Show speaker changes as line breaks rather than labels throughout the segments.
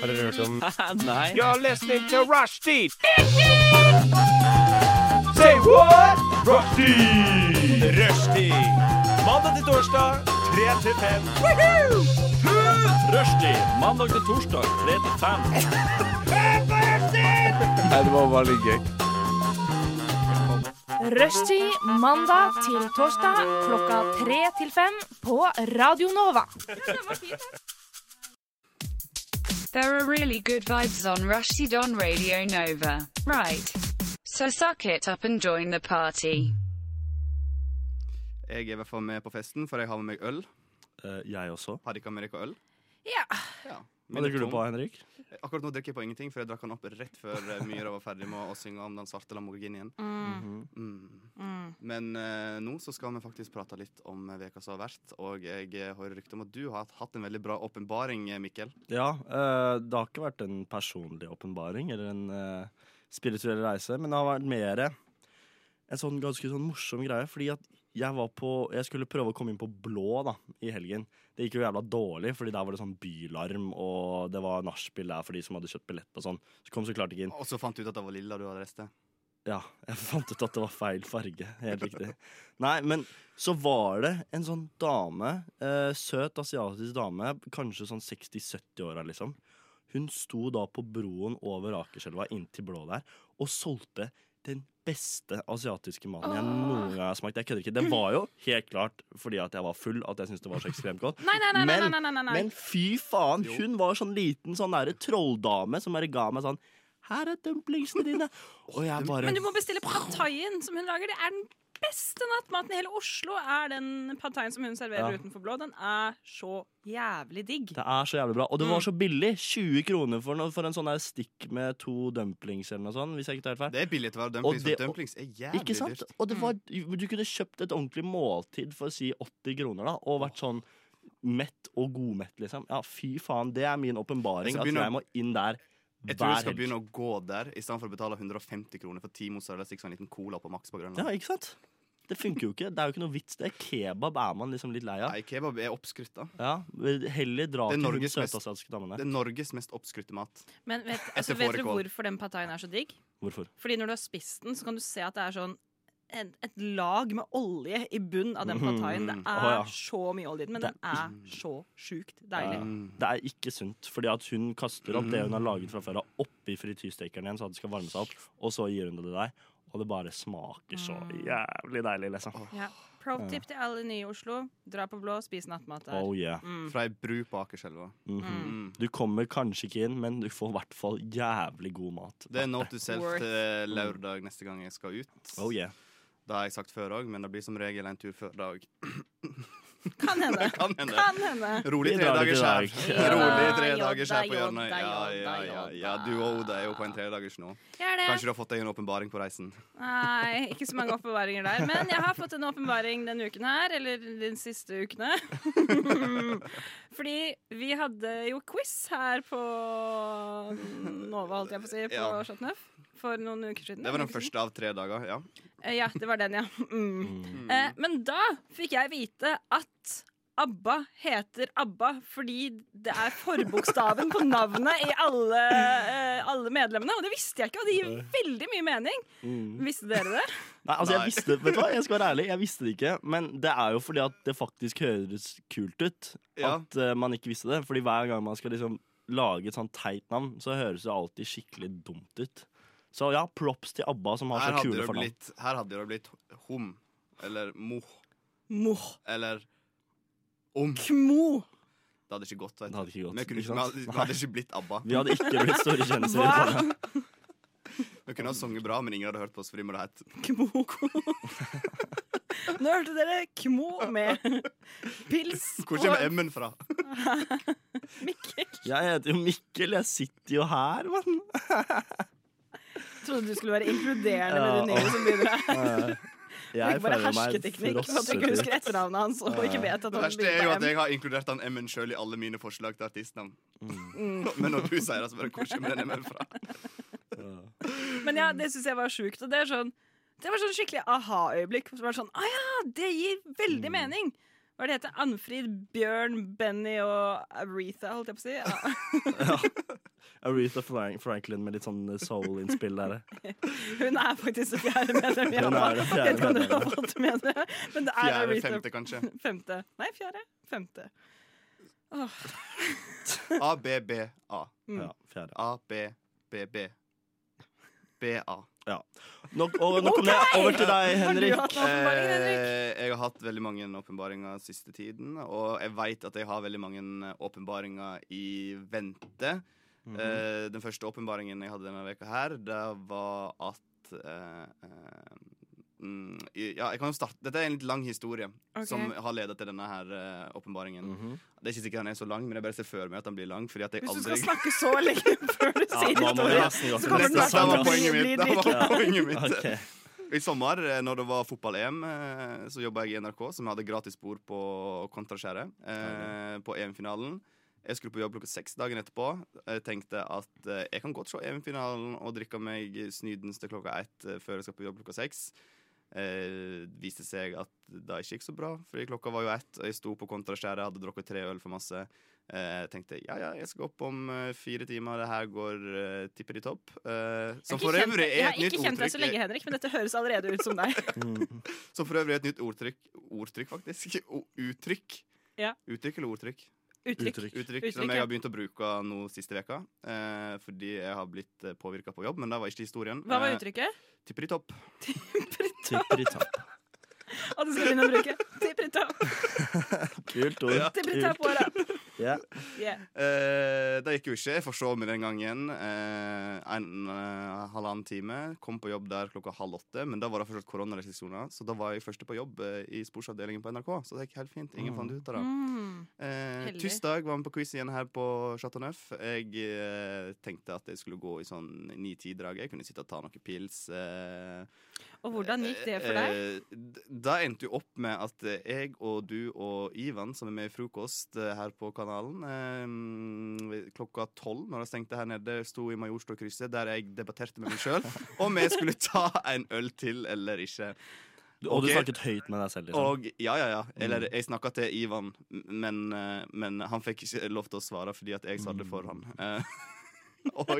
Har dere hørt om
Nei.
You're listening to Rushdie. Say what? Rushdie. Rushdie. Mandag til torsdag, 3 til 5.
Rushdie. Mandag til torsdag, 3 til 5.
Rushtid mandag til torsdag klokka tre til fem på Radio Nova.
There are really good vibes on Rushdie Don Radio Nova. Right. So suck it up and join the party.
Jeg er i hvert fall med på festen, for jeg har med meg øl.
Eh, jeg også.
Har ikke Amerika øl.
Ja.
Ja.
Hva drikker du på, Henrik?
Akkurat nå drikker jeg på ingenting, for jeg drakk den opp rett før eh, Myhra var ferdig med å synge om den svarte Lamborghinien. Mm.
Mm.
Men eh, nå så skal vi faktisk prate litt om eh, veka som har vært. Og jeg eh, hører rykte om at du har hatt en veldig bra åpenbaring, eh, Mikkel.
Ja, eh, det har ikke vært en personlig åpenbaring eller en eh, spirituell reise, men det har vært mer en sånn ganske sånn morsom greie. Fordi at jeg var på Jeg skulle prøve å komme inn på blå da, i helgen. Det gikk jo jævla dårlig, fordi der var det sånn bylarm, og det var nachspiel der for de som hadde kjøpt billett og sånn. Så kom så klart ikke inn.
Og så fant du ut at det var lilla du hadde rest til.
Ja, jeg fant ut at det var feil farge. Helt riktig. Nei, men så var det en sånn dame, eh, søt asiatisk dame, kanskje sånn 60-70-åra, liksom. Hun sto da på broen over Akerselva inntil Blå der og solgte den beste asiatiske maten jeg noen gang har smakt. Jeg kødder ikke. Det var jo helt klart fordi at jeg var full at jeg syntes det var så ekstremt godt.
Nei, nei, nei, nei,
Men-
nei, nei, nei, nei.
Men fy faen,
Jo.
hun var sånn liten sånn derre trolldame som bare ga meg sånn Her er dumplingsene dine. Og jeg bare
Men du må bestille pad thaien som hun lager. Det er den beste nattmaten i hele Oslo. er den pad thaien som hun serverer
Ja.
utenfor blå. Den er så jævlig digg.
Det er så jævlig bra. Og det var
Mm.
så billig. 20 kroner for, noe, for en sånn der stikk med to dumplings eller noe sånt. Hvis jeg ikke tar helt feil.
Det er billig til å være dumplings,
det-
for dumplings er jævlig
Ikke sant?
dyrt. Mm.
Og det var, du kunne kjøpt et ordentlig måltid for å si 80 kroner da, og vært sånn mett og godmett, liksom. Ja, fy faen. Det er min åpenbaring
Jeg skal
at
begynne å-
jeg må inn der
Jeg tror du
hver
skal
helg.
begynne å gå der istedenfor å betale 150 kroner for ti mozzarella sticks og en liten cola på Max på Grønland.
Ja, ikke sant? Det funker jo ikke. Det er jo ikke noe vits. Det er kebab er man liksom litt lei av.
Nei, kebab er oppskrytt, da.
Ja, Heller dra
Det er
til hun
Norges mest-
søtasiatiske damene.
Det er Norges mest oppskrytte mat.
Men vet,
Etter
altså, vet dere
fårikål.
hvorfor den pad thaien er så digg?
Hvorfor?
Fordi når du har spist den, så kan du se at det er sånn en, et lag med olje i bunnen av den pad thaien. Det
Mm.
er
Å, ja.
så mye olje i den, men
Det-
den er så sjukt deilig.
Mm.
Det er ikke sunt, fordi at hun kaster opp det hun har laget fra før av oppi frityrstekeren igjen, så at det skal varme seg opp, og så gir hun det til deg. Og det bare smaker så
Mm.
jævlig deilig, liksom.
Ja. Pro tip til alle nye i Oslo. Dra på blå, spis nattmat der.
Oh yeah.
Mm.
Fra ei bru på Akerselva.
Mhm.
Mm.
Du kommer kanskje ikke inn, men du får i hvert fall jævlig god mat.
Det er note to self
Worth. Mm.
til eh, lørdag neste gang jeg skal ut.
Oh yeah.
Det har jeg sagt før òg, men det blir som regel en tur før dag.
Kan hende.
Kan hende.
Kan hende.
Rolig
Vi
tre
drar det
dagers
til
skjær.
dag.
Rolig
Ja,
tre
jodda,
dagers skjær på
jodda,
hjørnet. Ja, ja, ja,
jodda,
ja. Du og Oda er jo på en tredagers nå.
Jeg er det.
Kanskje du har fått deg en åpenbaring på reisen.
Nei, ikke så mange åpenbaringer der. Men jeg har fått en åpenbaring denne uken her, eller de siste ukene. Fordi vi hadde jo quiz her på Nova, holdt jeg på å si, på
Ja.
Chateauneuf for noen uker siden.
Det var
en
den
uke siden.
første av tre dager. ja.
Eh, Ja, det var den, ja. Mm. Eh, men da fikk jeg vite at ABBA heter ABBA fordi det er forbokstaven på navnet i alle, eh, alle medlemmene. Og det visste jeg ikke, og det gir veldig mye mening.
Mm.
Visste dere det?
Nei, altså
Nei.
jeg visste, vet du hva, jeg skal være ærlig, jeg visste det ikke. Men det er jo fordi at det faktisk høres kult ut
Ja.
at eh, man ikke visste det. Fordi hver gang man skal liksom lage et sånt teit navn, så høres det alltid skikkelig dumt ut. Så ja, props til ABBA som har
Her
så
hadde
kule
det
fornavn.
blitt, her hadde det blitt hum eller moh
Moh.
eller om.
Kmo.
Det hadde ikke gått. vet
Det
du.
hadde ikke gått,
Vi kunne
ikke
ikke-
sant?
vi hadde- vi hadde ikke blitt ABBA.
Vi hadde ikke blitt store kjendiser. i
Hva?
Trondheim.
Vi kunne ha sunget bra, men ingen hadde hørt på oss fordi vi hadde hett
Kmo. Nå hørte dere Kmo med pils
Hvor kommer M-en fra?
sånn Mikkel.
Jeg heter jo Mikkel, jeg sitter jo her, mann.
Trodde du skulle være inkluderende med
Ja,
det nye som begynner her.
Eh,
Ikke
Jeg
bare
føler meg
hersketeknikk. for At du ikke
frosset.
husker etternavnet hans og ikke vet at
Det
han
verste er jo
begynner
at
på M.
jeg har inkludert den M-en sjøl i alle mine forslag til artistnavn.
Mm.
Men når du sier det, så bare Hvor kommer den M-en fra?
Men ja, det syns jeg var sjukt. Og det er sånn det var sånn skikkelig aha-øyeblikk. Så var det sånn, ah ja, Det gir
Mm.
veldig mening! Hva er det heter Anfrid, Bjørn, Benny og Aretha, holdt jeg på å si. Ja.
Aretha Frank Franklin med litt sånn soul-innspill der.
Hun er faktisk det fjerde medlem i
Hun er
ABBA.
det
Jeg
fjerde
vet ikke om du har
medlemmet.
fått med det, men det er
Fjerde,
Aretha
femte, kanskje.
Femte. Nei, fjerde. Femte.
A-B-B-A.
Mm.
Ja, fjerde.
A-B-B-B. B-A.
Nok, og, nok om det. Over til deg,
Har du
Henrik.
hatt noen åpenbaringer, Henrik?
Eh, jeg har hatt veldig mange åpenbaringer siste tiden, og jeg veit at jeg har veldig mange åpenbaringer i vente.
Mhm.
Eh, den første åpenbaringen jeg hadde denne veka her, det var at eh, eh, mm, i- Ja, jeg kan jo starte Dette er en litt lang historie
Ok.
som har ledet til denne her eh, åpenbaringen.
Mhm.
Det er ikke sikkert den er så lang, men jeg bare ser for meg at den blir lang. Fordi at jeg
Hvis du
aldri
skal snakke så lenge før du
Ja,
sier
nå må vi
historien
nesten gå
så
til
Nettopp,
kommer
neste
den hvert
det
fall
var
sak.
poenget
bli
mitt. Det var
dritkul.
poenget mitt.
Ok.
I sommer, eh, når det var fotball-EM, eh, så jobba jeg i NRK, som hadde gratis bord på Kontraskjæret. Eh, på EM-finalen. Jeg skulle på jobb klokka seks dagen etterpå. Jeg tenkte at eh, jeg kan godt se EM-finalen og drikke meg snydens til klokka ett eh, før jeg skal på jobb klokka seks. Eh, viste seg at det ikke gikk så bra, fordi klokka var jo ett, og jeg sto på Kontraskjæret, hadde drukket tre øl for masse. Eh, tenkte ja, ja, jeg skal opp om eh, fire timer, det her går eh, tipper i topp. Eh, som for øvrig
Jeg
er
har
et nytt
ikke kjent deg så
ordtrykk.
lenge, Henrik, men dette høres allerede ut som deg.
Mm,
Som for øvrig er et nytt ordtrykk. Ordtrykk, faktisk. O uttrykk.
Ja.
Uttrykk eller ordtrykk?
Uttrykk.
Uttrykk.
Uttrykk,
Uttrykk,
som jeg
ja.
har begynt å bruke nå siste veka eh, Fordi jeg har blitt påvirka på jobb, men det var ikke historien.
Hva var
Eh,
uttrykket?
Tipper i topp.
Tipperittapp.
Å, du skal begynne å bruke Tippritå.
Kult ord.
Ja.
Tippritå på åra.
Ja.
Yeah.
Eh, det gikk jo ikke. Jeg forsov meg den gangen. Eh, en eh, halvannen time. Kom på jobb der klokka halv åtte, men da var det fortsatt koronarestriksjoner. Så da var jeg første på jobb eh, i sportsavdelingen på NRK. Så det gikk helt fint. Ingen fant ut av det.
Mm.
Eh,
Heldig.
Tirsdag var vi på quiz igjen her på Chateau Neuf. Jeg eh, tenkte at jeg skulle gå i sånn ni-ti-draget. Jeg kunne sitte og ta noen pils. Eh,
Og hvordan gikk det for deg?
Eh, da endte jo opp med at eh, jeg og du og Ivan, som er med i Frokost eh, her på kanalen, eh, klokka tolv når det stengte her nede, sto i Majorståkrysset, der jeg debatterte med meg sjøl om jeg skulle ta en øl til eller ikke.
Og du
Ok.
snakket høyt med deg selv. Liksom. Mm.
Og ja, ja, ja. Eller jeg snakka til Ivan, men, eh, men han fikk ikke lov til å svare fordi at jeg satt det foran.
Mm.
Eh, Og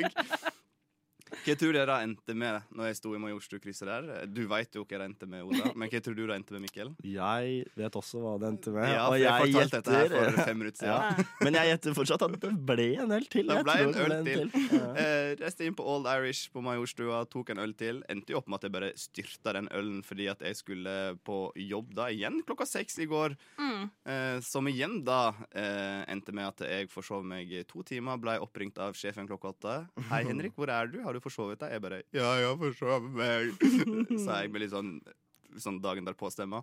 hva tror dere det endte med når jeg sto i Majorstukrysset der? Du veit jo hva det endte med, Oda, men hva tror du det endte med, Mikkel?
Jeg vet også hva det endte med.
Ja, for
og
jeg
jeg
fortalte dette her
gjetter
for fem minutter siden.
Ja. Men jeg gjetter fortsatt at det ble en øl til.
Det
Jeg
ble
tror
en øl til.
Ja.
Eh, reiste inn på Old Irish på Majorstua, tok en øl til. Endte jo opp med at jeg bare styrta den ølen fordi at jeg skulle på jobb da igjen klokka seks i går. Eh, som igjen da eh, endte med at jeg forsov meg i to timer, blei oppringt av sjefen klokka åtte. 'Hei, Henrik, hvor er du? Har du forsovet deg?' Jeg bare 'Ja, jeg har forsovet meg', sa jeg med litt sånn Sånn dagen derpå-stemma.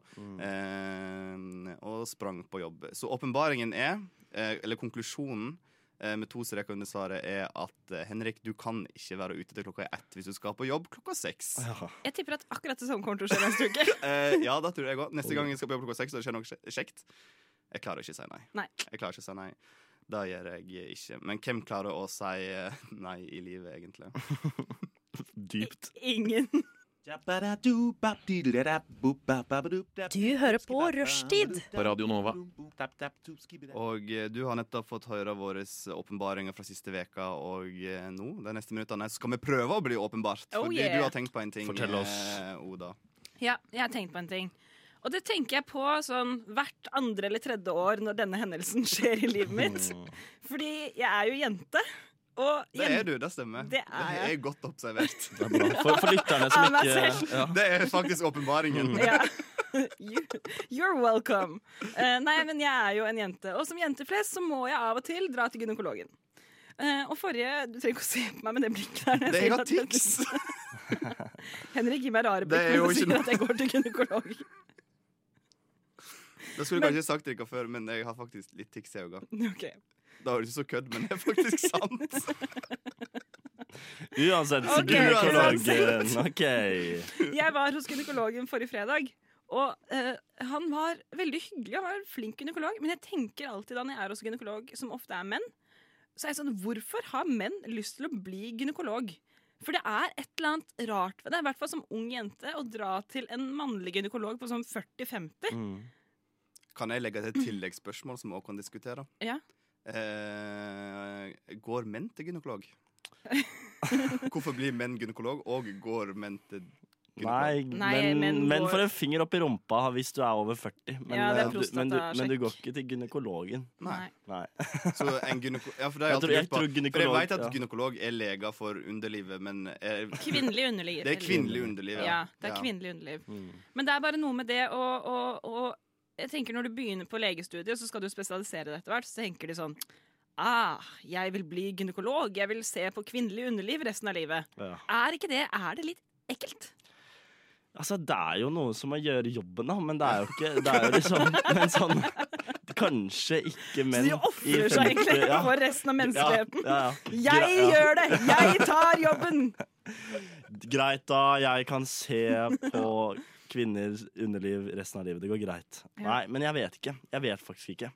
Eh, og sprang på jobb. Så åpenbaringen er, eh, eller konklusjonen, eh, med to streker under svaret er at eh, Henrik, du kan ikke være ute til klokka ett hvis du skal på jobb klokka seks.
Ja.
Jeg tipper at akkurat det samme kommer til å skje neste uke.
Eh, ja, da tror jeg òg. Neste gang jeg skal på jobb klokka seks og det skjer noe kje- kjekt, jeg klarer ikke å si nei.
Nei.
Jeg klarer ikke å si nei. Da gjør jeg ikke. Men hvem klarer å si eh, nei i livet, egentlig?
Dypt.
Ingen.
Du hører på Rushtid
På Radio Nova.
Og eh, du har nettopp fått høre våre åpenbaringer fra siste veka og eh, nå, de neste minuttene, skal vi prøve å bli åpenbart.
Oh,
fordi
yeah.
du har tenkt på en ting,
Fortell oss.
eh, Oda.
Ja, jeg har tenkt på en ting. Og det tenker jeg på sånn hvert andre eller tredje år når denne hendelsen skjer i livet mitt. Fordi jeg er jo jente. Og
Mm. Det er
jente
du, det stemmer.
Det er jeg.
er godt observert.
Det er bra. For, for lytterne som
Av meg
ikke
selv.
ja.
Det er faktisk åpenbaringen.
ja. You, you're welcome. Eh, nei, men jeg er jo en jente. Og som jente flest så må jeg av og til dra til gynekologen. Eh, og forrige Du trenger ikke å se på meg med det blikket der. når jeg
Det er
sier
jo
at jeg-
tics!
Henrik gir meg rare
Det er
blikk
jo
når
ikke
jeg
noe-
sier at jeg går til gynekolog.
Det skulle du kanskje sagt dere før, men jeg har faktisk litt tics i øynene.
Ok.
Det høres ut som kødd, men det er faktisk sant.
Uansett,
Ok,
gynekologen. OK.
Jeg var hos gynekologen forrige fredag, og eh, han var veldig hyggelig. Han var en flink gynekolog, men jeg tenker alltid da når jeg er hos gynekolog, som ofte er menn, så er jeg sånn Hvorfor har menn lyst til å bli gynekolog? For det er et eller annet rart ved det, i hvert fall som ung jente, å dra til en mannlig gynekolog på sånn 40-50.
Mm.
Kan jeg legge til et tilleggsspørsmål som vi også kan diskutere?
Ja.
Eh, går menn til gynekolog? Hvorfor blir menn gynekolog, og går menn til gynekolog?
Nei,
Nei,
men, men,
men går-
for en finger opp i rumpa hvis du er over 40. Men,
Ja, det er
eh, du, men, du, men du
prostatasjekk.
går ikke til gynekologen.
Nei.
Nei.
Så en gynekolog Ja, for det
Jeg
har jeg alltid
tror- jeg
lurt på.
tror gynekolog-
For jeg vet at
ja.
gynekolog er lega for underlivet, men er,
Kvinnelig underliv.
det er kvinnelig underliv.
Ja, det er kvinnelig underliv.
Mm.
Men det er bare noe med det å, å, å Jeg tenker når du begynner på legestudiet, så skal du spesialisere deg etter hvert, så tenker de sånn Ah, jeg vil bli gynekolog. Jeg vil se på kvinnelig underliv resten av livet.
Ja.
Er ikke det Er det litt ekkelt?
Altså, det er jo noen som må gjøre jobben, da, men det er jo ikke Det er jo liksom Men sånn Kanskje ikke
Så
menn
de ofrer seg egentlig for resten av menneskeheten.
Ja, ja.
Jeg
Gra-
gjør det! Jeg tar jobben!
ja. Greit, da. Jeg kan se på kvinners underliv resten av livet. Det går greit. Nei, men jeg vet ikke. Jeg vet faktisk ikke.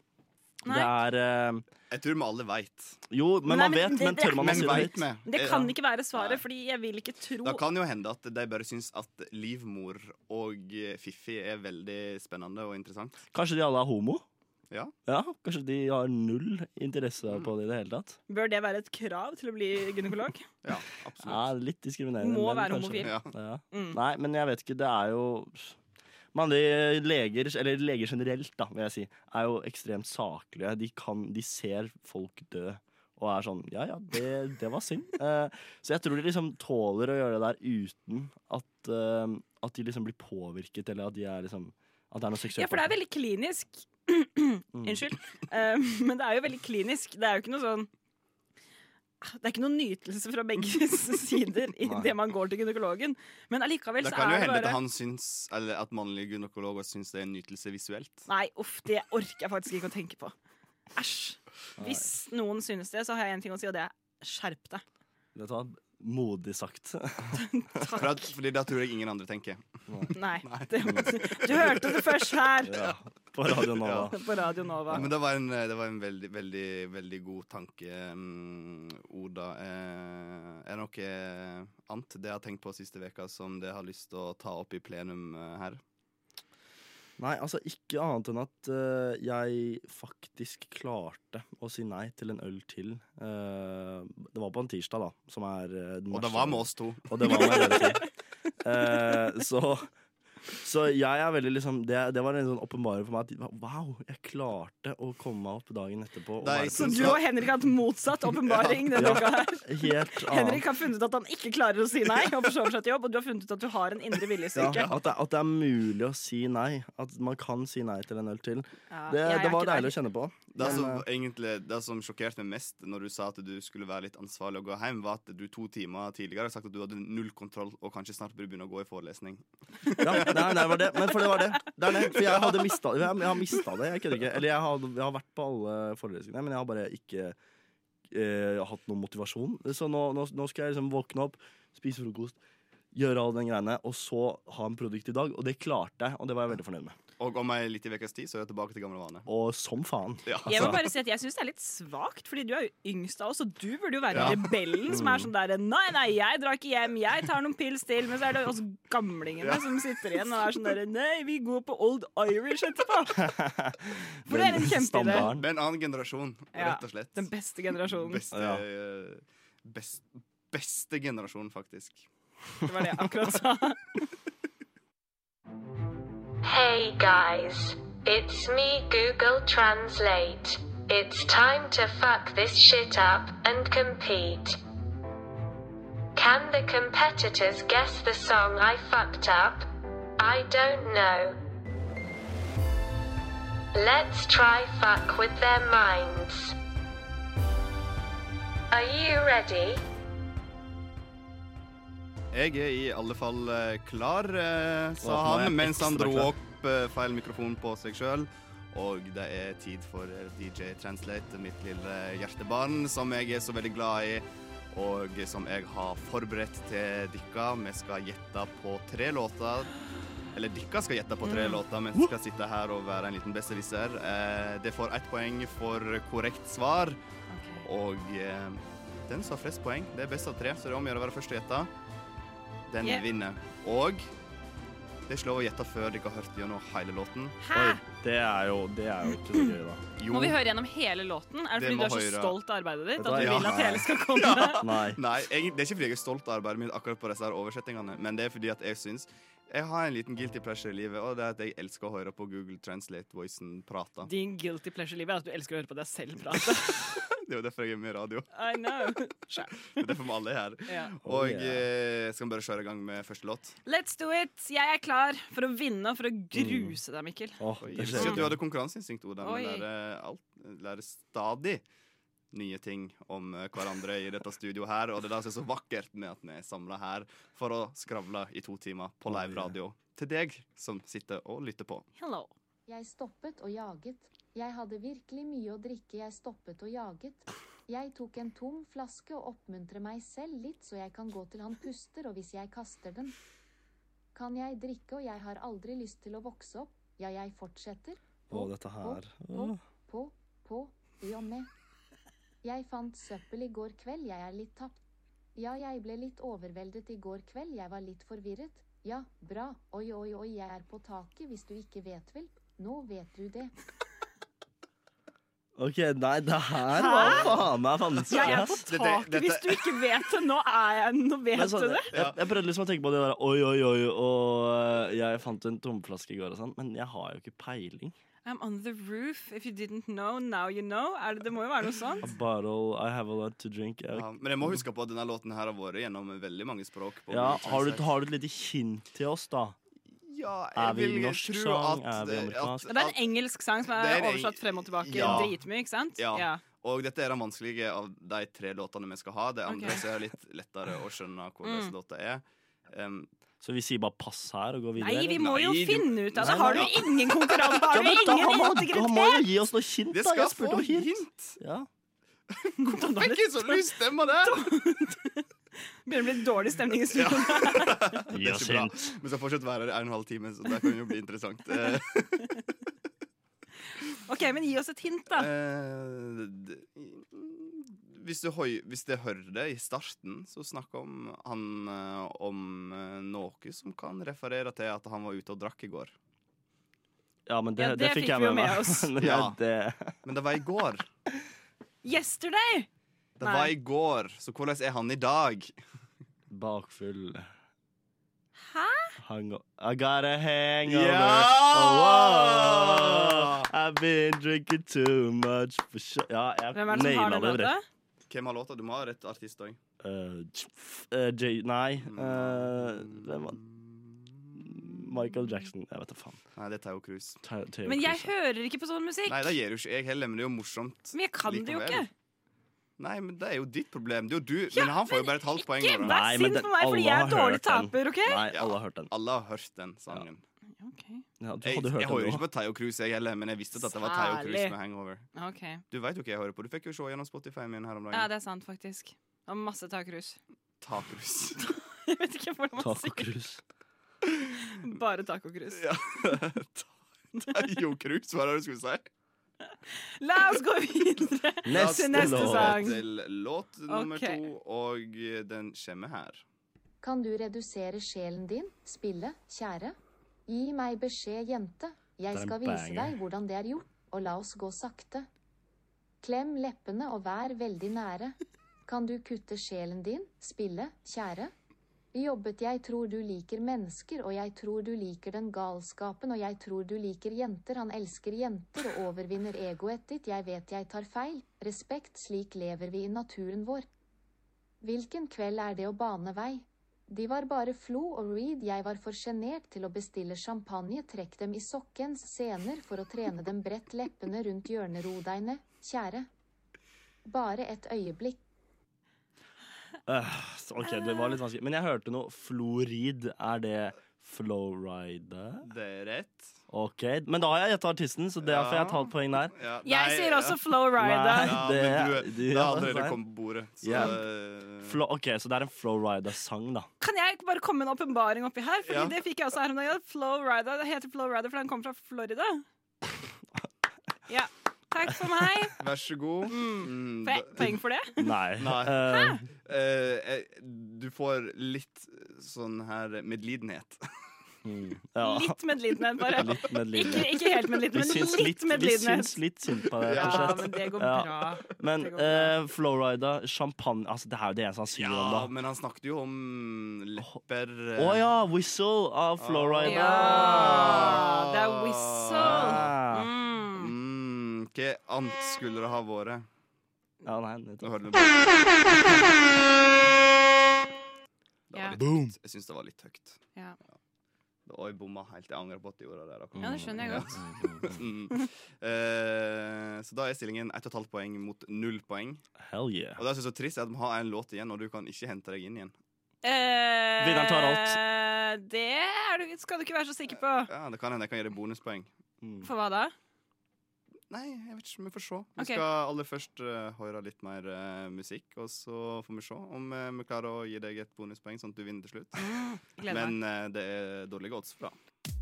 Det
Nei.
er eh,
Jeg tror vi alle veit.
Jo, men
Nei,
man
men
vet,
det-
men
det er-
tør man å
Men
si det
veit
høyt?
vi.
Det kan ikke være svaret, fordi jeg vil ikke
Det
tro
kan jo hende at de bare syns at livmor og eh, Fiffi er veldig spennende og interessant.
Kanskje de alle er homo?
Ja.
Kanskje de har null interesse på
Mm.
det i det hele tatt?
Bør det være et krav til å bli gynekolog?
Ja,
Ja,
absolutt.
litt diskriminerende.
Må
men
være
kanskje-
homofil.
Ja.
Ja.
Mm.
Nei, men jeg vet ikke. Det er jo Mannlige leger, eller leger generelt, da, vil jeg si, er jo ekstremt saklige. De, kan, de ser folk dø og er sånn Ja, ja, det, det var synd. Eh, så jeg tror de liksom tåler å gjøre det der uten at, eh, at de liksom blir påvirket, eller at de er liksom At det er noe seksuelt.
Ja, for det er
bak.
veldig klinisk.
Mm.
Unnskyld. Eh, men det er jo veldig klinisk. Det er jo ikke noe sånn Det er ikke noen nytelse fra begge sider i
Nei.
det man går til gynekologen. Men allikevel
Det
så
kan jo
er det
hende at
bare
han syns Eller at mannlige gynekologer syns det er en nytelse visuelt.
Nei, uff, det orker jeg faktisk ikke å tenke på. Æsj. Hvis noen synes det, så har jeg en ting å si, og det er skjerp deg.
Vet du hva? Modig sagt.
For at, fordi da tror jeg ingen andre tenker.
Nei. Det, du hørte det først her
ja. På Radio Nova.
på Radio Nova.
Men det var en, eh, det var en veldig, veldig, veldig god tanke, mm, Oda. Eh, er det noe eh, annet det jeg har tenkt på siste veka som det har lyst til å ta opp i plenum eh, her?
Nei, altså ikke annet enn at eh, jeg faktisk klarte å si nei til en øl til. Eh, det var på en tirsdag, da. Som er eh, den
Og det
verste-
var med oss to.
Og det var med dere to. Eh, så, så jeg er veldig liksom Det, det var en sånn åpenbaring for meg at wow, jeg klarte å komme meg opp dagen etterpå. Og
Nei,
være
Så du og Henrik har hatt motsatt åpenbaring denne
Ja.
uka her.
helt annet.
Henrik har funnet ut at han ikke klarer å si nei, og forsover seg til jobb, og du har funnet ut at du har en indre
Ja,
viljestyrke.
at, det, at det er mulig å si nei. At man kan si nei til en øl til.
Ja,
Det,
jeg er
det var
ikke der.
deilig å kjenne på.
Det
Men,
som,
eh,
egentlig, det som sjokkerte meg mest når du sa at du skulle være litt ansvarlig og gå hjem, var at du to timer tidligere har sagt at du hadde null kontroll og kanskje snart burde begynne å gå i forelesning.
Ja, nei, nei, det var det. Men for det var det. det, er det. For jeg hadde mista jeg, jeg har mista det. Jeg kødder ikke. Eller jeg har, jeg har vært på alle forelesningene, men jeg har bare ikke eh, hatt noen motivasjon. Så nå, nå, nå skal jeg liksom våkne opp, spise frokost, gjøre all den greiene, og så ha en produktiv dag. Og det klarte jeg, og det var jeg veldig fornøyd med.
Og om ei lita ukes tid så er jeg tilbake til gamle vane.
Og som faen.
Ja.
Jeg
altså.
må bare si at jeg syns det er litt svakt, fordi du er jo yngst av oss, og du burde jo være rebellen som er sånn der Nei, nei, jeg drar ikke hjem, jeg tar noen pils til. Men så er det oss gamlingene som sitter igjen og er sånn derre Nei, vi går på Old Irish etterpå. For det er en
Den
kjempeidé.
standarden.
Med en annen generasjon,
Ja,
rett og slett.
Den beste generasjonen.
Beste,
Ja.
eh, best, beste generasjon, faktisk.
Det var det jeg akkurat sa.
Hey guys, it's me Google Translate. It's time to fuck this shit up and compete. Can the competitors guess the song I fucked up? I don't know. Let's try fuck with their minds. Are you ready?
Jeg er i alle fall eh, klar, eh, sa
Åh, nå er jeg
han mens han
ekstra
dro
klar.
opp eh, feil mikrofon på seg sjøl. Og det er tid for eh, DJ Translate, mitt lille hjertebarn, som jeg er så veldig glad i. Og som jeg har forberedt til dere. Vi skal gjette på tre låter. Eller dere skal gjette på tre låter, mens vi skal sitte her og være en liten besserwisser. Eh, det får ett poeng for korrekt svar. Og eh, den som har flest poeng, det er best av tre, så det er om å gjøre å være først til å gjette. Den
Yeah.
vinner. Og det er ikke lov å gjette før dere har hørt gjennom hele låten.
Hæ?
Det er jo, det er jo ikke så gøy, da.
Jo.
Må vi høre gjennom hele låten? Er det
Det
fordi
må
du er så
Høyre.
stolt av arbeidet ditt?
Vet du
At du
hva?
vil at
Ja.
hele skal komme?
Nei.
Nei, egentlig, det er ikke fordi jeg er stolt av arbeidet mitt akkurat på disse her oversettingene, men det er fordi at jeg syns jeg har en liten guilty pleasure i livet, og det er at jeg elsker å høre på Google Translate-voicen prate.
Din guilty pleasure-liv er at du elsker å høre på deg selv prate.
Det er jo derfor jeg er med i radio.
I know.
Det er derfor vi alle er her.
Ja.
Oh,
Og
yeah.
eh, skal vi bare kjøre i gang med første låt?
Let's do it! Jeg er klar for å vinne og for å gruse deg, Mikkel.
Åh,
Oi,
det
jeg
skjer
visste at du
ikke.
hadde konkurranseinstinkt, Oda, men
Oi.
lærer, alt, lærer stadig nye ting om eh, hverandre i dette studioet her, og det er det som er så vakkert med at vi er samla her for å skravle i to timer på live radio til deg som sitter og lytter på.
Hello.
Jeg stoppet og jaget. Jeg hadde virkelig mye å drikke. Jeg stoppet og jaget. Jeg tok en tom flaske og oppmuntrer meg selv litt så jeg kan gå til han puster og hvis jeg kaster den. Kan jeg drikke og jeg har aldri lyst til å vokse opp. Ja, jeg fortsetter.
Å, dette her.
På, på, på, i og med. Jeg fant søppel i går kveld, jeg er litt tapt. Ja, jeg ble litt overveldet i går kveld, jeg var litt forvirret. Ja, bra, oi, oi, oi, jeg er på taket, hvis du ikke vet vel. Nå vet du det.
OK, nei, det her var faen meg vanskelig.
Jeg er
ass.
på
Dette-
taket
dette-
hvis du ikke vet det. Nå er jeg Nå vet
Men sånn,
du det.
jeg, jeg prøvde liksom å tenke på det der Oi, oi, oi, og eh, jeg fant en tomflaske i går og sånn, men jeg har jo ikke peiling.
I'm on the roof. If you didn't know, now you know. Er det, det må jo være noe sånn. sånt.
A bottle, I have a lot to drink. Jeg,
Ja, men jeg må huske på at denne låten her har vært gjennom veldig mange språk. På
ja,
Google
har, du,
Translate.
har du et lite hint til oss, da?
ja,
Er
jeg
vi
vil
norsk
tro
sang?
at-
Er vi amerikansk?
Det er en engelsk sang som
Det
er
er en-
oversatt frem og tilbake
Ja.
dritmye, ikke sant?
Ja. Og dette er den vanskelige av de tre låtene vi skal ha. Det andre
Ok.
så er det litt lettere å skjønne hvordan
Mm.
låta er. Um,
Så vi sier bare pass her og går videre?
Nei, vi må
Nei,
jo
du-
finne ut av det.
Nei,
Har
nei,
du ingen konkurranse? Har du
men da
ingen
må, da må
integritet?
du gi oss noe hint,
det
da!
skal
Jeg spurte
få
om hint.
hint!
Ja.
Hvorfor fikk jeg så lyst stemme der?
Begynner å bli dårlig stemning i studio.
Gi
ikke bra. Vi skal fortsatt være her en og en halv time, så det kan jo bli interessant. Eh,
Ok, men gi oss et hint, da.
eh, d- hvis, du høy, hvis det hører det i starten, så snakker om han eh, om eh, noe som kan referere til at han var ute og drakk i går.
Ja, men det,
Ja,
det, fikk jeg
vi jo
med meg.
med oss.
Men
Ja.
det,
Men det var i går.
Yesterday!
Det
Nei.
var i går, så hvordan er han i dag?
bakfull
Hæ?
hang I got a hangover.
Ja!
Oh, wow. I've been drinking too much for sure. Ja, jeg
Hvem er det som har
naila
den
det
låta?
rett.
Hvem har låta? Du må ha rett artist òg.
Eh, tf- eh, J nei. eh, hvem var Michael Jackson. Jeg vet da faen.
Nei, det er Tayo Cruz.
Ta- Taylor
Men jeg
Swift.
hører ikke på sånn musikk.
Nei, det gjør jo ikke jeg heller, men det er jo morsomt.
Men jeg kan det jo
Likevel.
ikke.
Nei, men det er jo ditt problem. Det er jo du. Men han får jo bare et halvt poeng.
Ikke
Oda.
vær
Nei, men
sint
den-
på meg fordi
alle
jeg
har
er dårlig
hørt
taper, OK?
Nei,
Ja.
alle har hørt den.
Alle har hørt den sangen.
Ok.
Ja, du
Jeg,
hadde hørt
jeg hører
den
ikke
nå.
på Tayo Cruz, jeg heller, men jeg visste at det var Tayo Cruz
Særlig.
med Hangover.
Ok.
Du vet jo hva jeg hører på. Du fikk jo se gjennom Spotify-en min her om
Ja,
dagen.
det er sant, faktisk. Og masse takrus.
Tayo Cruz.
Jeg vet ikke hvordan man
Taco
sier
Cruise.
bare tacokrus.
Ja. Tayo Cruz, hva var det du skulle si?
La oss gå videre.
Neste,
Til neste
låt.
sang.
Til låt nummer
Ok.
to, og den kommer her.
Kan du redusere sjelen din, spille, kjære? Gi meg beskjed, jente. Jeg
Det er en
skal
banger.
vise deg hvordan det er gjort, og la oss gå sakte. Klem leppene og vær veldig nære. Kan du kutte sjelen din, spille, kjære? Jobbet jeg tror du liker mennesker, og jeg tror du liker den galskapen, og jeg tror du liker jenter, han elsker jenter og overvinner egoet ditt, jeg vet jeg tar feil, respekt, slik lever vi i naturen vår. Hvilken kveld er det å bane vei? De var bare Flo og Reed, jeg var for sjenert til å bestille champagne, trekk dem i sokkens sener for å trene dem bredt leppene rundt hjørnerodeine, kjære. Bare et øyeblikk.
Øh, så- OK, det var litt vanskelig. Men jeg hørte noe florid. Er det Flowrider?
Det er rett.
OK. Men da har jeg gjetta artisten, så derfor
Ja.
jeg tar et poeng der.
Ja, nei,
Jeg sier også
ja.
Flow
Nei.
Rider.
Ja,
Det-
men du,
de-
det
ja,
har allerede
feil.
kommet på bordet. Så,
Ja.
eh,
Flo, ok, Så det er en Flowrider-sang, da.
Kan jeg ikke bare komme med en åpenbaring oppi her? Fordi
Ja.
det fikk jeg også her om dagen. Flow Rider. Det heter Flow Rider fordi han kommer fra Florida. Ja. Takk for meg.
Vær så god. Mm,
Får jeg
da-
poeng for det?
Nei.
Nei.
Eh,
eh, eh, du får litt sånn her medlidenhet.
Mm. Ja.
Litt medlidenhet, bare.
Litt
Ikke,
medlidenhet.
ikke helt
Vi
medlidenhet,
syns litt,
men litt
vi syns
medlidenhet.
litt synd på deg, rett og
Ja,
slett.
men det går
Ja.
bra.
Men
Det går bra.
eh, Florida, champagne Altså, det er jo det eneste han synger
Ja,
om, da.
men han snakket jo om lepper eh,
Å ja, 'Whistle' av
Ah.
Florida.
Ja, det er whistle.
Ah.
Mm.
Mm, hva annet skulle det ha vært?
Ja, nei,
Nå
nettopp.
hører du det. Det
Ja.
var litt
Boom.
høyt. Jeg syns det var litt høyt.
Ja.
Det- Oi, bomma helt. Jeg angrer på at jeg gjorde det. der akkurat.
Ja, det skjønner jeg
Ja.
godt.
Mm. Eh, så da er stillingen 1,5 poeng mot 0 poeng.
Hell yeah.
Og det jeg synes er så trist, er at vi har en låt igjen, og du kan ikke hente deg inn igjen.
Eh,
Vinneren tar
Det er du, skal du ikke være så sikker på.
Ja, Det kan hende jeg kan gi deg bonuspoeng.
Mm.
For hva da?
Nei, jeg vet ikke, vi får se. Vi
Ok.
skal aller først eh, høre litt mer eh, musikk, og så får vi se om eh, vi klarer å gi deg et bonuspoeng, sånn at du vinner til slutt.
Mm, Gleder meg.
Men eh, det er dårlige odds for det.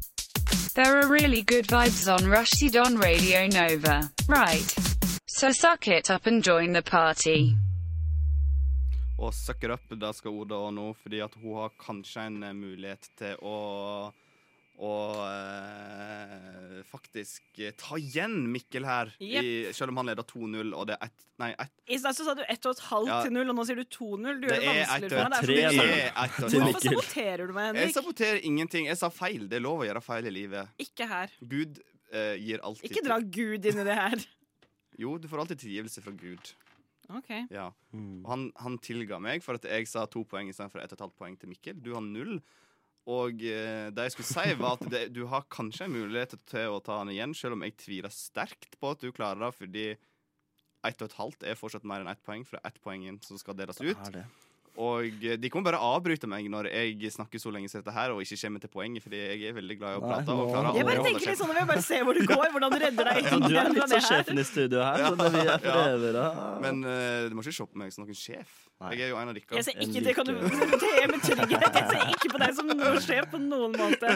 There are really good vibes on Rushdie on Radio Nova. Right. So suck it up and join the party.
Og suck it up, det skal Oda òg nå, fordi at hun har kanskje en eh, mulighet til å å eh, faktisk eh, ta igjen Mikkel her,
Jep.
i, selv om han leder 2-0, og det er ett Nei, ett
I stad så sa du 1,5
Ja.
til 0, og nå sier du 2-0. Du
Det
gjør det
er
vanskeligere
ett
for meg. Det er
til tre,
så mye.
Det er ett og et
Hvorfor
halvt.
saboterer du meg,
Jeg
Henrik?
saboterer ingenting. Jeg sa feil. Det er lov å gjøre feil i livet.
Ikke her.
Gud eh, gir alltid
Ikke dra Gud inn i det her.
Jo, du får alltid tilgivelse fra Gud.
Ok.
Ja.
Mm.
Og han, han tilga meg for at jeg sa to poeng istedenfor ett og et halvt poeng til Mikkel. Du har null. Og eh, det jeg skulle si, var at det, du har kanskje en mulighet til å ta han igjen, selv om jeg tviler sterkt på at du klarer det, fordi ett og et halvt er fortsatt mer enn ett poeng, for det er ett poeng igjen som skal deles ut.
Er det.
Og eh, de kommer bare avbryte meg når jeg snakker så lenge som dette her, og ikke kommer til poenget, fordi jeg er veldig glad i å
Nei,
prate.
nå-
Og klarer aldri
Jeg bare
å holde
tenker litt
kjeft.
sånn, jeg vil bare se hvor det går, hvordan du redder deg
Ja,
inn
du er
fra
litt
det
sånn
her.
sjefen i studio her, så det vi er for evig, da.
Men eh, du må ikke se på meg som noen sjef.
Nei.
Jeg er jo en av dere.
Jeg ser ikke det, kan du det er med trygghet. Jeg ser ikke på deg som noen sjef på noen måte.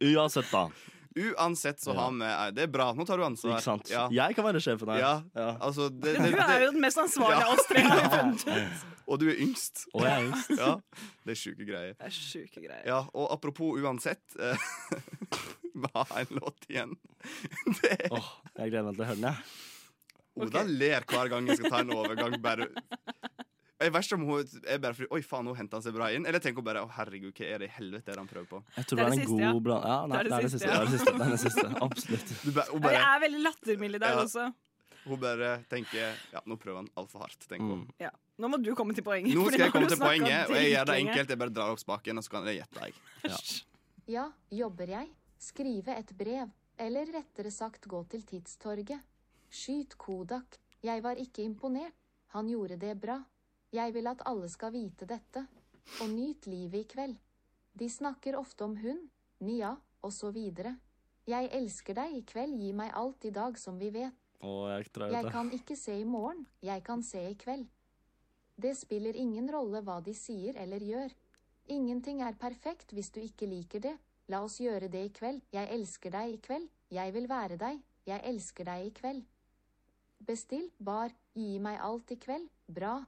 Uansett, da.
Uansett så
Ja.
har vi eh, Det er bra. Nå tar du ansvar.
Ikke sant?
Ja.
Jeg kan være sjefen her.
Ja.
Ja.
Altså, det,
Du
det,
er jo
det,
den mest ansvarlige
Ja.
av oss tre. har vi funnet.
og du er yngst.
Og jeg er yngst.
Ja, det er sjuke greier.
Det er sjuke greier.
Ja, og apropos uansett eh, Vi har en låt igjen. Det er
Åh, jeg gleder meg til å høre den, jeg.
Oda ler hver gang jeg skal ta en overgang. Bare jeg verst om hun er bare fordi Oi, faen, nå henter han seg bra inn. Eller tenker hun bare Å, herregud, hva er det i helvete er det han prøver på?
Jeg tror
Det
det
er
er
det
en
siste, ja.
god bland... Ja, nei, det er det siste. Det er det siste. Det er det siste. Absolutt.
Du bare, hun,
Ja, Jeg
bare,
er veldig lattermild i dag
Ja.
også.
hun bare tenker Ja, nå prøver han altfor hardt, tenker hun.
Mm.
Ja. Nå må du komme til poenget.
Nå
fordi
skal jeg
har
komme
du
til poenget,
snakket
og jeg gjør det
dritlenge.
enkelt. Jeg bare drar opp spaken, og så kan jeg gjette deg.
Ja, jobber jeg? Skrive et brev. Eller rettere sagt gå til Tidstorget. Skyt Kodak. Jeg var ikke imponert. Han gjorde det bra. Jeg vil at alle skal vite dette. Og nyt livet i kveld. De snakker ofte om hund, Nia, og så videre. Jeg elsker deg i kveld, gi meg alt i dag som vi vet.
Åh, jeg tror jeg vet
Jeg
det.
kan ikke se i morgen, jeg kan se i kveld. Det spiller ingen rolle hva de sier eller gjør. Ingenting er perfekt hvis du ikke liker det. La oss gjøre det i kveld. Jeg elsker deg i kveld. Jeg vil være deg. Jeg elsker deg i kveld. Bestill, bar, gi meg alt i kveld. Bra.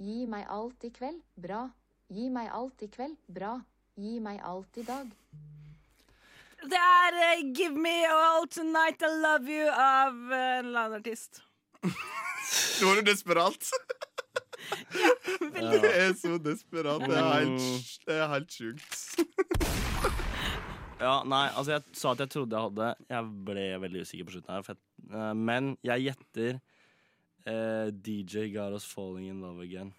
Gi meg alt i kveld. Bra. Gi meg alt i kveld. Bra. Gi meg alt i dag.
Det er eh, 'Give Me All Tonight I Love You' av eh, en eller annen artist.
Nå er du desperat.
Ja.
Det er så desperat. Det er helt, det er helt sjukt.
ja, nei, altså jeg sa at jeg trodde jeg hadde Jeg ble veldig usikker på slutten her, for jeg, eh, men jeg gjetter eh, DJ got us falling in love again.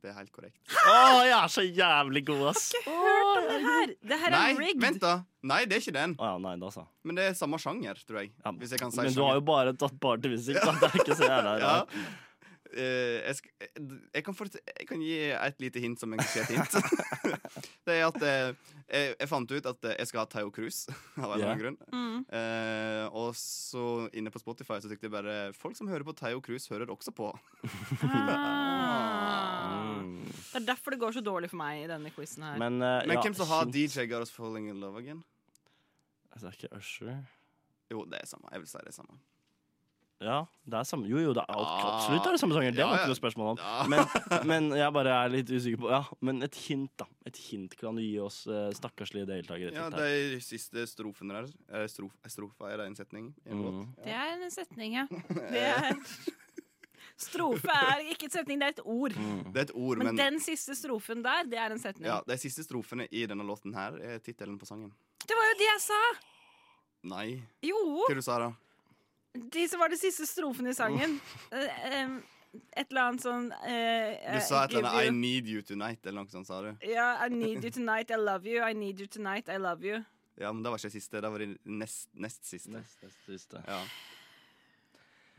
Det er helt korrekt.
Å, jeg er så jævlig god, ass! Å
Hørt om det her? Det her
Nei,
er rigged.
vent, da. Nei, det er ikke den.
ja, nei da, sa
Men det er samme sjanger, tror jeg.
ja,
Hvis jeg kan si
Men du har
sjanger.
jo bare tatt partymusikk, da. Det er ikke så jævla
Ja.
rart.
Eh, jeg, sk jeg, kan fort- jeg kan gi et lite hint som en konkret hint. det er at eh, jeg, jeg fant ut at eh, jeg skal ha Theo Cruz, av en eller annen grunn.
Mm.
Eh, og så inne på Spotify så tenkte jeg bare Folk som hører på Theo Cruz, hører også på.
Ah.
Mm.
Det er derfor det går så dårlig for meg i denne quizen her.
Men, eh,
Men
ja,
hvem som har
shit.
DJ Got Us Falling In Love Again?
Altså, det er ikke Usher.
Jo, det er samme. Jeg vil si det er samme.
Ja, det er samme Jo, jo, det er alt,
Ah.
absolutt er det samme sanger. Det
Ja,
var
ja.
ikke noe spørsmål om.
Ja.
Men, men jeg bare er litt usikker på Ja, men et hint, da. Et hint kan du gi oss eh, stakkarslige deltakere.
Ja,
det,
de siste strofene der er strof, er Strofa er det en setning i en
Mm.
låt?
Det er en setning, ja. Det er Strofe er ikke en setning, det er et ord.
mm.
Det er et ord,
Men
men,
den siste strofen der, det er en setning.
ja, De siste strofene i denne låten her er tittelen på sangen.
Det var jo det jeg sa!
Nei.
Jo!
Hva du sa da?
De som var de siste strofene i sangen. Eh, em, Et eller annet sånn eh,
Mm. Du sa et
give
eller annet I
you-
need you tonight, eller noe sånt, sa du.
Ja, I need you tonight, I love you. I need you tonight, I love you.
Ja, men det var ikke siste. Det var det nest, nest siste.
Nest, nest, siste.
Ja.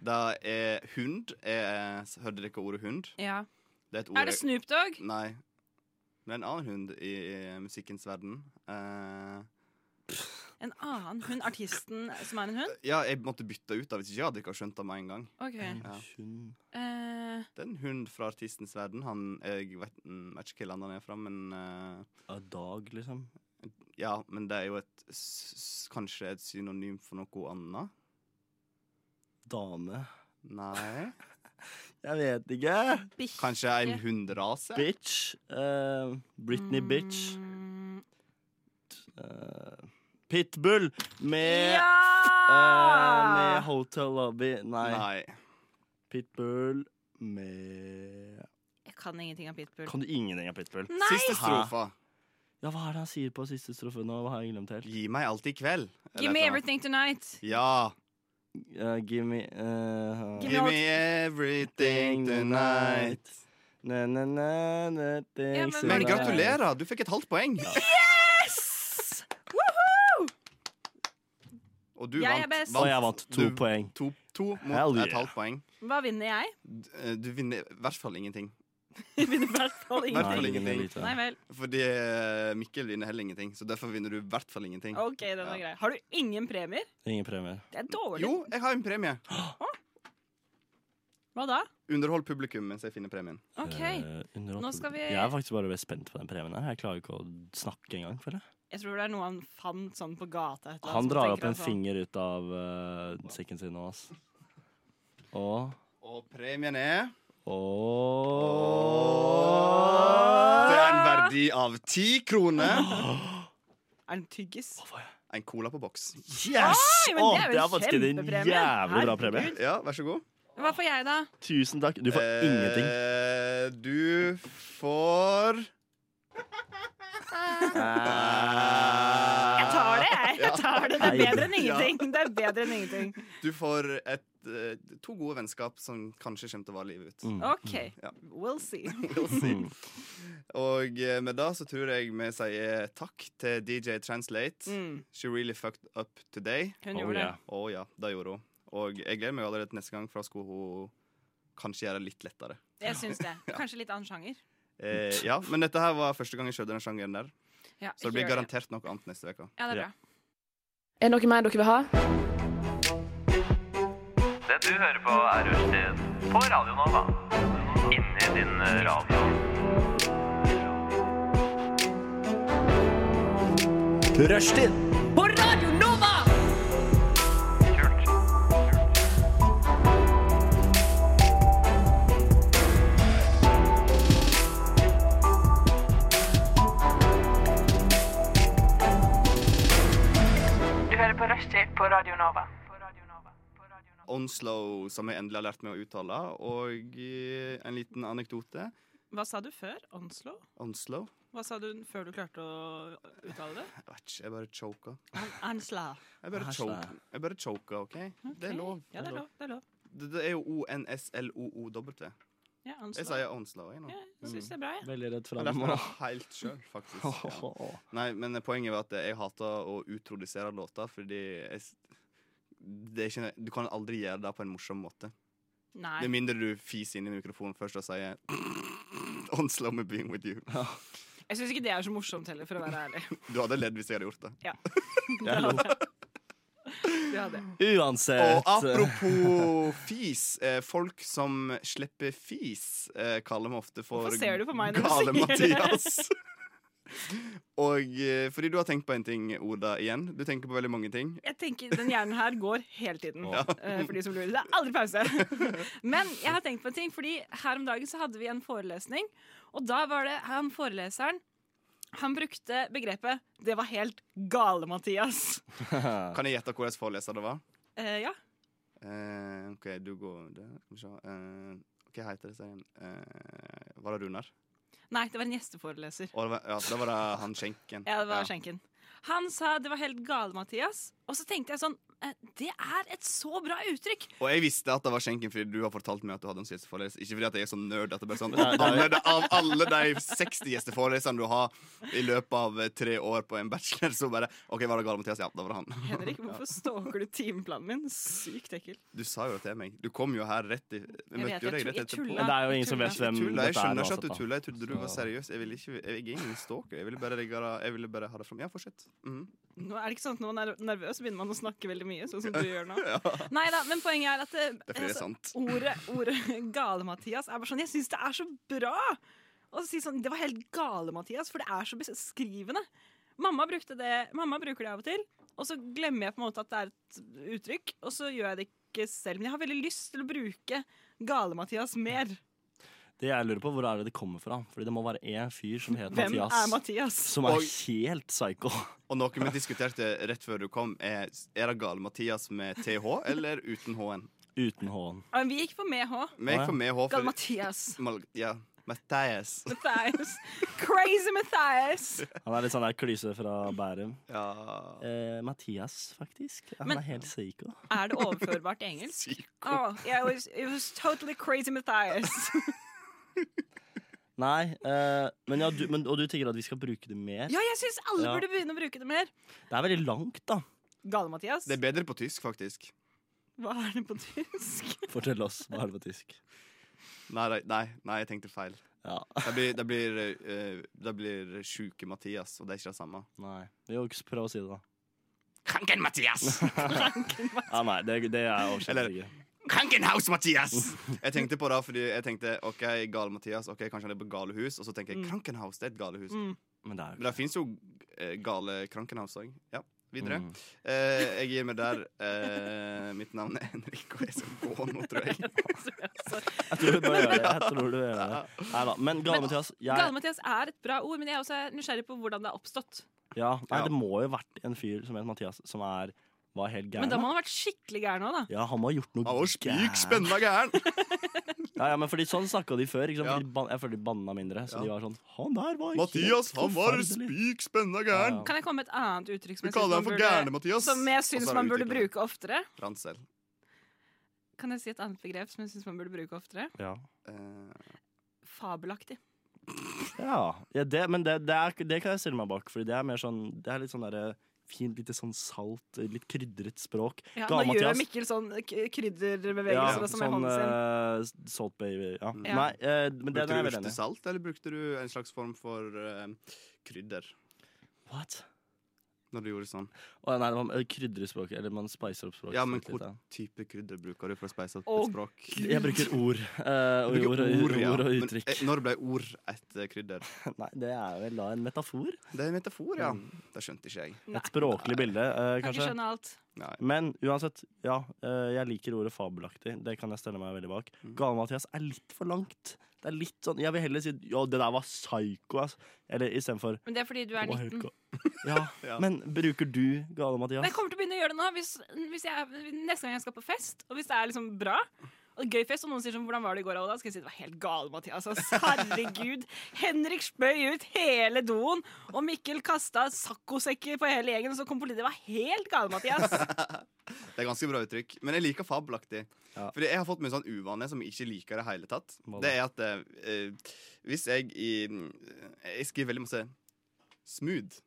Da er hund er, Hørte dere ordet hund?
Ja.
Det er et ord
Er det
jeg-
Snoop Dogg?
Nei. Det er en annen hund i, i musikkens verden. Eh,
En annen hund? Artisten som er en hund?
ja, jeg måtte bytte ut da hvis ikke jeg hadde ikke skjønt det med en gang.
OK.
Ja.
Hun
Eh,
Det er en hund fra artistens verden. Han, jeg vet, mm, vet ikke hva landet han er fra, men eh,
A dag, liksom.
Ja, men det er jo et s s- Kanskje et synonym for noe annet?
Dame.
Nei.
Jeg vet ikke.
bikkje.
Kanskje en hunderase?
Bitch. Eh, Britney Bitch.
Mm.
Eh, Pitbull med eh,
Ja!
Med Hotel Lobby. Nei.
Nei.
Pitbull med
Jeg kan ingenting av Pitbull.
Kan du ingenting av Pitbull?
Siste strofa.
Ja, hva er det han sier på siste strofe nå? Hva har jeg glemt helt?
Gi meg alt i kveld. Eller
Give me
et eller annet.
everything tonight.
Ja.
Eh, give me eh,
Give me
Give
all-
me everything tonight.
Na, na, na, na, thanks
men-
a
Men
lot.
gratulerer, du fikk et halvt poeng.
Yes! Woohoo!
Og du
Jeg er
vant.
best.
Og jeg vant to
Du-
poeng.
To, to mot
Hell
et
yeah.
halvt poeng.
Hva vinner jeg?
D- eh, Du vinner i hvert fall ingenting.
Jeg vinner i hvert fall
Nei.
ingenting.
fall
det
ingenting.
er lite.
Nei vel.
Fordi eh, Mikkel vinner heller ingenting, så derfor vinner du i hvert fall ingenting.
OK, den var
Ja.
grei. Har du ingen premier?
Ingen premie.
Det er dårlig.
Jo, jeg har en premie.
Hva da?
Underhold publikum mens jeg finner premien.
OK.
Eh, underhold.
Nå skal vi-
Jeg er faktisk bare veldig spent på den premien her. Jeg klarer ikke å snakke engang. føler jeg.
Jeg tror det er noe han fant sånn på gata. et eller annet,
Han
som
drar opp
tenker sånn.
en
at
finger ut av eh, sekken sin nå, ass. Og
Og premien er
Ah!
Og
Det er en verdi av ti kroner.
sånn, Er han tyggis?
En cola på boks.
Yes!
Oi, men
Å,
det er jo
det er faktisk en
kjempepremie.
jævlig bra premie.
Herregud.
Ja, vær så god.
Hva får jeg, da?
Tusen takk. Du får ingenting.
Eh, Du får
Jeg tar det, jeg. jeg tar det. det er
Nei.
bedre enn ingenting. Det er bedre enn ingenting.
Du får et, eh, to gode vennskap som kanskje kommer til å vare livet
Mm.
ut.
OK.
Ja.
We'll see.
We'll see. Og eh, med det så tror jeg vi sier takk til DJ Translate.
Mm,
She really fucked up today.
hun
Oh,
gjorde det.
yeah.
Å ja, det gjorde hun. Og jeg gleder meg allerede til neste gang, for da skulle hun kanskje gjøre det litt lettere.
Jeg syns det. Kanskje litt annen sjanger.
Eh, ja, Men dette her var første gang jeg skjønte den sjangeren der,
Ja,
så det blir
here.
garantert noe annet neste uke.
Ja, det er bra.
Er det noe mer dere vil ha?
Det du hører på er Rushtid på Radio Nova. Inni din eh, radio.
Rushtid
Kult.
Du hører på Rushtid på Radio Nova.
Onslow, som jeg endelig har lært meg å uttale, og eh, en liten anekdote.
Hva sa du før? Onslow?
Onslow?
Hva sa du før du klarte å uttale det?
Jeg vet ikke, jeg bare choka.
Ansla.
Jeg bare
Hasla.
choka, jeg bare choka OK? Det er lov.
Ja, det er lov. Det er lov.
Det, det er jo O-N-S-L-O-O-W.
Ja,
Jeg Mm.
Onslow.
sier Onslow, jeg nå.
Ja, jeg syns det er bra, jeg.
Veldig redd for
Men det
alle
må
nå.
jeg helt sjøl, faktisk. Ja. Nei, men poenget var at jeg hater å utrodusere låter, fordi jeg, s- det er ikke, Du kan aldri gjøre det på en morsom måte.
Nei.
Med mindre du fiser inn i mikrofonen først og sier Onslow med being with you.
Jeg syns ikke det er så morsomt heller, for å være ærlig.
Du hadde ledd hvis jeg hadde gjort det.
Det hadde jeg. Det hadde jeg.
Uansett.
Og apropos fis. Eh, folk som slipper fis, eh, kaller vi ofte for
Hvorfor ser du på meg når du
Gale
sier det?
Mathias. Og eh, fordi du har tenkt på en ting, Oda, igjen. Du tenker på veldig mange ting.
Jeg tenker Den hjernen her går hele tiden.
Ja.
eh, For de som lurer. Det er aldri pause. Men jeg har tenkt på en ting, fordi her om dagen så hadde vi en forelesning, og da var det han foreleseren han brukte begrepet 'det var helt gale, Mathias'.
Kan jeg gjette hvordan foreleser det var?
Eh, ja.
Eh, OK, du går der. Skal vi se. Eh, hva heter det så igjen? Eh, var det Runar?
Nei, det var en gjesteforeleser.
Og det var, ja, da var det han skjenken.
Ja, det var skjenken. Han sa 'det var helt gale, Mathias', og så tenkte jeg sånn eh, Det er et så bra uttrykk!
Og jeg visste at det var skjenken fordi du har fortalt meg at du hadde en gjesteforeleser. Ikke fordi at jeg er så nerd at det bare er sånn
Nei, nei.
alle, de- Av alle de 60 gjesteforeleserne du har i løpet av eh, tre år på en bachelor, så bare OK, var det Gale Mathias? Ja, da var det han.
Henrik, hvorfor stalker du timeplanen min? Sykt ekkel.
Du sa jo det til meg. Du kom jo her rett i Jeg
vet,
møtte jo
jeg
deg
tror-
rett
jeg
etterpå.
tullet.
Det er jo ingen som
Tuller.
vet hvem
Tulla, jeg
dette er. altså.
skjønner ikke
uansett,
at du
da.
tulla. Jeg trodde du var
Så-
seriøs. Jeg, vil ikke, jeg er ingen stalker. Jeg ville bare, rigge det- jeg ville bare ha det fram. Ja, fortsett. Mhm.
Nå er det ikke sånn at Når man er nervøs, så begynner man å snakke veldig mye. Sånn som du gjør nå
Ja.
Nei da, men poenget er at eh, altså, det,
Det er fordi det er sant.
ordet, ordet 'gale-Mathias' er bare sånn Jeg syns det er så bra! Og så si sånn 'Det var helt gale-Mathias', for det er så beskrivende. Mamma, brukte det, mamma bruker det av og til, og så glemmer jeg på en måte at det er et uttrykk. Og så gjør jeg det ikke selv. Men jeg har veldig lyst til å bruke gale-Mathias mer.
Det jeg lurer på, hvor er det det kommer fra? Fordi det må være en fyr som heter
Hvem er
Mathias.
Mathias?
Som er
Og-
helt psycho.
Og noe vi diskuterte rett før du kom, er er det Gale Mathias med TH eller uten H-en?
Uten H-en.
Ja, men Vi gikk for med H.
Vi gikk for med H. for-
Gale-Mathias.
Mal- Ja, Mathias.
Mathias. Crazy Mathias.
Han er litt sånn der klyse fra Bærum.
Ja.
Eh, Mathias, faktisk. Han
Men-
er helt psycho.
Er det overførbart til engelsk? Oh, yeah, it, was, it was totally crazy Mathias.
Nei, eh, men ja, du, men, og du tenker at vi skal bruke det mer?
Ja, jeg syns alle
Ja.
burde begynne å bruke det mer.
Det er veldig langt, da.
Gale-Mathias.
Det er bedre på tysk, faktisk.
Hva er det på tysk?
Fortell oss hva er det på tysk.
Nei, nei, nei, nei jeg tenkte feil.
Ja,
Det blir, det blir, eh, det blir sjuke Mathias, og det er ikke det samme.
nei. Jo, ikke prøv å si det, da.
Kranken Mathias!
Ja, Ah, nei, det, det er
Eller-
overskjønt ikke.
Krankenhaus-Mathias! Jeg tenkte på det fordi jeg tenkte OK, gale-Mathias, ok, kanskje han er på galehus. Og så tenker jeg Krankenhaus, det er et galehus.
Mm.
Men det er jo
Men det fins jo eh, gale Krankenhaus òg. Ja, videre.
Mm.
Eh, jeg gir meg der. Eh, mitt navn er Henrik, og jeg skal gå nå, tror jeg.
Jeg tror du bør gjøre det. Jeg tror du bør gjøre det. Nei da. Men Gale Mathias, jeg
Gale-Mathias er et bra ord, men jeg er også nysgjerrig på hvordan det har oppstått.
ja, nei,
Ja.
Det må jo ha vært en fyr som het Mathias, som er, var helt
Men da
gæren.
må han ha vært skikkelig gæren òg, da.
Ja, han må ha gjort noe
Han var spik spenna gæren!
Ja, ja, men fordi Sånn snakka de før. Ikke sant?
Ja.
Fordi de ban- jeg føler de banna mindre. Så
Ja.
de var sånn Han der var helt
Mathias, han var
forferdelig."
spik spenna gæren!
Ja,
Kan jeg komme med et annet uttrykk som
Vi
jeg
kaller
syns
han for
man, burde-
Gærne-Mathias.
som jeg synes
Og så er det
man burde
utviklet.
bruke oftere?
Ransel.
Kan jeg si et annet begrep som jeg syns man burde bruke oftere?
Ja.
Eh,
Fabelaktig.
Ja, ja det, men det, det, er, det kan jeg stille meg bak, Fordi det er mer sånn Det er litt sånn derre fint, lite sånn salt, litt krydret språk.
Ja, nå
Gale
gjør
Mathias.
Mikkel sånn k-
Ja,
krydderbevegelser også med
sånn
hånden sin.
eh, salt baby. Ja.
Ja.
Nei, eh, men det den
brukte
er
du
jeg veldig enig i.
urtesalt, eller brukte du en slags form for eh, krydder?
What?
Når du gjorde sånn
Å, nei, man eh, krydrer språket, eller man spicer opp språket.
Ja, men
litt,
hvor
ja.
type krydder bruker du for å speise opp
Å,
et språk?
Jeg bruker ord. eh, og
Du bruker
ord, og ord,
ja.
og
Men,
uttrykk.
eh, når ble ord et eh, krydder?
Nei, det er vel da en metafor?
Det er en metafor, ja.
Mm.
Det skjønte ikke jeg.
Nei.
Et språklig bilde, eh,
Kan ikke
kanskje.
skjønne alt.
Nei.
Men uansett, ja. eh, jeg liker ordet fabelaktig. Det kan jeg stelle meg veldig bak.
Mm.
Gale-Mathias er litt for langt. Det er litt sånn, Jeg vil heller si ja, det der var psycho, ass. Eller istedenfor
Men det er fordi du er
«Å,
19.
helt ga-» Ja,
Ja.
Men bruker du Gale-Mathias?
Men jeg kommer til å begynne å gjøre det nå hvis, hvis jeg, neste gang jeg skal på fest. Og hvis det er liksom bra og gøy fest, og noen sier sånn 'Hvordan var det i går?' Oda?" skal jeg si 'Det var helt gal, Mathias'. ass. herregud. Henrik spøy ut hele doen, og Mikkel kasta saccosekker på hele gjengen, og så kom politiet. Det var helt gal, Mathias.
Det er ganske bra uttrykk. Men jeg liker fabelaktig.
Ja.
Fordi jeg har fått meg en sånn uvane som jeg ikke liker i det hele tatt.
Hva da?
Det er at eh, hvis jeg i Jeg skriver veldig masse smooth.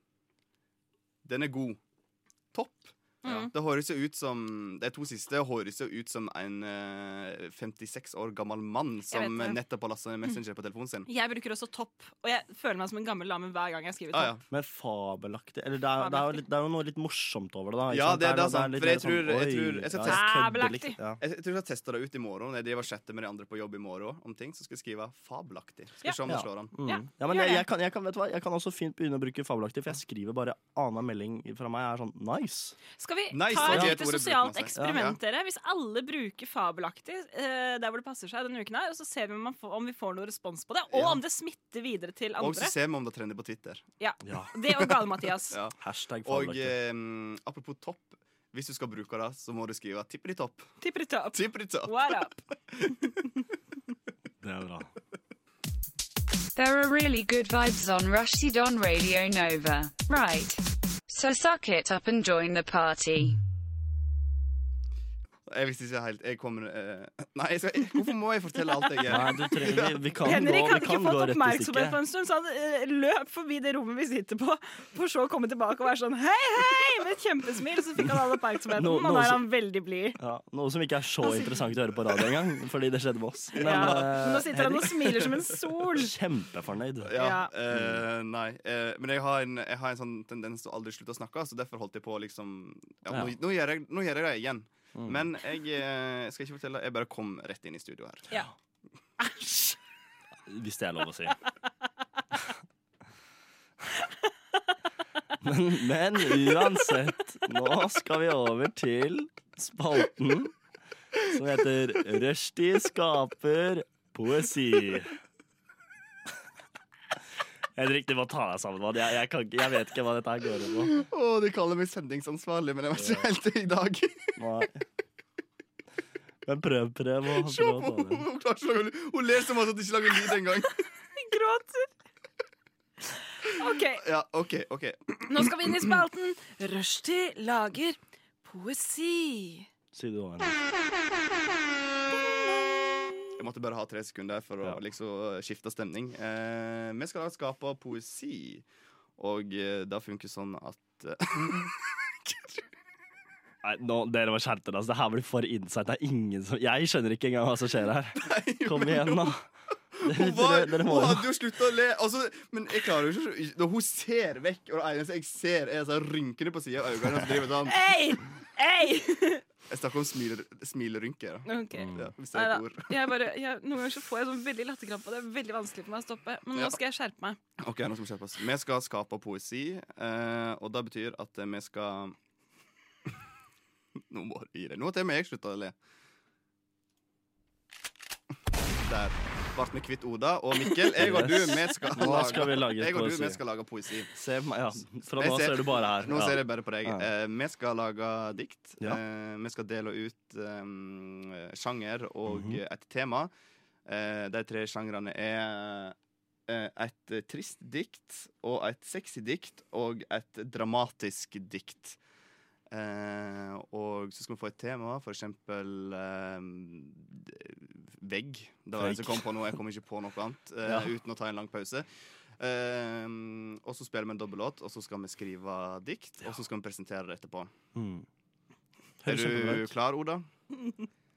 Den er god. Topp.
Mm.
Det høres jo ut som De to siste høres jo ut som en eh, 56 år gammel mann som
vet det.
nettopp har lastet ned Messenger på telefonen sin.
Jeg bruker også topp, og jeg føler meg som en gammel lame hver gang jeg skriver
Ah, Ja,
topp.
ja.
Men fabelaktig Eller det er, det, er jo litt, det er jo noe litt morsomt over det, da. ikke
Ja,
sant?
det er det,
noe-
sant,
litt
for jeg
mer sånn,
tror- jeg
oi,
tror- jeg skal
ja, kødder
teste-
litt, ja.
Jeg, jeg tror jeg skal teste det ut i morgen. Jeg driver og chatter med de andre på jobb i morgen om ting. Så skal jeg skrive 'fabelaktig'. Skal
Ja.
se om det slår an.
Mm.
Ja,
Ja, men
gjør
jeg,
det.
jeg, kan, jeg, kan, vet du hva? jeg kan også fint begynne å bruke fabelaktig, for jeg skriver bare annenhver melding fra meg er sånn nice.
Skal vi
Nice,
ta
det
et
er et
lite
ord jeg
sosialt
bruker masse. Ja,
eksperiment, dere? Hvis alle bruker fabelaktig eh, der hvor det passer seg denne uken her, og så ser vi om, man får, om vi får noe respons på det, og
Ja.
om det smitter videre til
Og så
andre.
ser vi om det trender på Twitter.
Ja.
Det og Gale-Mathias.
Ja.
Hashtag
Og
fabelaktig.
eh, apropos topp. Hvis du skal bruke det, så må du skrive 'tippelitopp'.
Tipper det opp.
Tippelitopp.
What up?
det er bra.
There are really good vibes on Rushdie Don Radio Nova. Right. So suck it up and join the party.
Jeg visste ikke helt Jeg kommer eh, Nei, jeg skal, hvorfor må jeg fortelle alt jeg
Nei,
gjør?
du trenger, vi, vi kan
Henrik
gå, vi
hadde ikke
kan gå
fått
rett i
oppmerksomhet på
stikket.
en stund, så han eh, løp forbi det rommet vi sitter på, for så å komme tilbake og være sånn hei, hei, med et kjempesmil. Så fikk han all oppmerksomheten,
Nå-
og
nå
nå er
så-
han veldig blid.
Ja, noe som ikke er så interessant å høre på radio engang, fordi det skjedde med oss. Men,
Altså. Ja.
eh,
Nå sitter han og
Henrik,
smiler som en sol.
Kjempefornøyd.
Ja,
Ja.
eh, nei. eh, men jeg har, en, jeg har en sånn tendens til å aldri slutte å snakke, så derfor holdt jeg på å liksom ja, nå,
Ja. Mm.
nå, gjør jeg, nå gjør jeg det igjen. Men jeg eh, skal ikke fortelle. Jeg bare kom rett inn i studio her.
Ja.
Hvis det er lov å si. Men, men uansett, nå skal vi over til spalten som heter Rushdie skaper poesi. Henrik, du må ta deg sammen. mann. Jeg, jeg, kan, ikke- jeg vet ikke hva dette her går ut på.
Å, de kaller meg sendingsansvarlig, men jeg var ikke helt det i dag.
Nei. Men prøv, prøv å
Se
prøv å ta
på
det.
henne! Hun klarer ikke å lage lyd. Hun ler så masse at hun ikke lager lyd engang.
Gråter. OK,
Ja, OK. ok
nå skal vi inn i spalten. Rushtid lager poesi.
Si du har en.
Jeg måtte bare ha tre sekunder for å
Ja.
liksom skifte stemning. Eh, vi skal da skape poesi, og eh, det funker sånn at eh,
Nei, nå, dere må skjerpe dere. Altså. Det her blir for insight. Det er ingen som Jeg skjønner ikke engang hva som skjer her. Kom igjen, da. Dere,
Hun, var,
dere, dere må
hun
jo
hadde jo slutta å le. Altså, men jeg klarer jo ikke Når hun ser vekk, og det eneste jeg ser, er så rynkene på sida av øynene. og så driver hun sånn.
Ei! Ei!
Jeg snakker om smil, smilerynker. da.
OK.
Mm.
Ja, hvis Mm, det er
Neida.
et ord.
Jeg bare, jeg, noen ganger så får jeg sånn veldig latterkrampe, og det er veldig vanskelig for meg å stoppe. Men
Ja.
nå skal jeg skjerpe meg.
Ok, nå skal Vi skjerpe oss Vi skal skape poesi, eh, og det betyr at eh, vi skal Nå må du gi deg. Nå har til og med jeg slutta å le. Der ble vi kvitt Oda og Mikkel. Jeg og du, vi skal
Nå skal vi lage
jeg og du,
poesi.
vi skal lage poesi.
Se på meg, ja. Fra
Jeg
nå
ser-
så er du bare her.
Nå
Ja.
ser jeg bare på deg.
Ja.
Eh, vi skal lage dikt.
Ja.
Eh, vi skal dele ut eh, sjanger og
Mhm.
eh, et tema. Eh, de tre sjangrene er eh, et eh, trist dikt og et sexy dikt og et dramatisk dikt. Eh, og så skal vi få et tema, for eksempel eh, d- vegg. Det var det som
Vegg.
kom på nå. Jeg kom ikke på noe annet eh,
Ja.
uten å ta en lang pause. Ehm, og så spiller vi en dobbellåt, og så skal vi skrive dikt, og så skal vi presentere det etterpå.
Mm.
Er
Høres kjempebra
du
ut.
klar, Oda?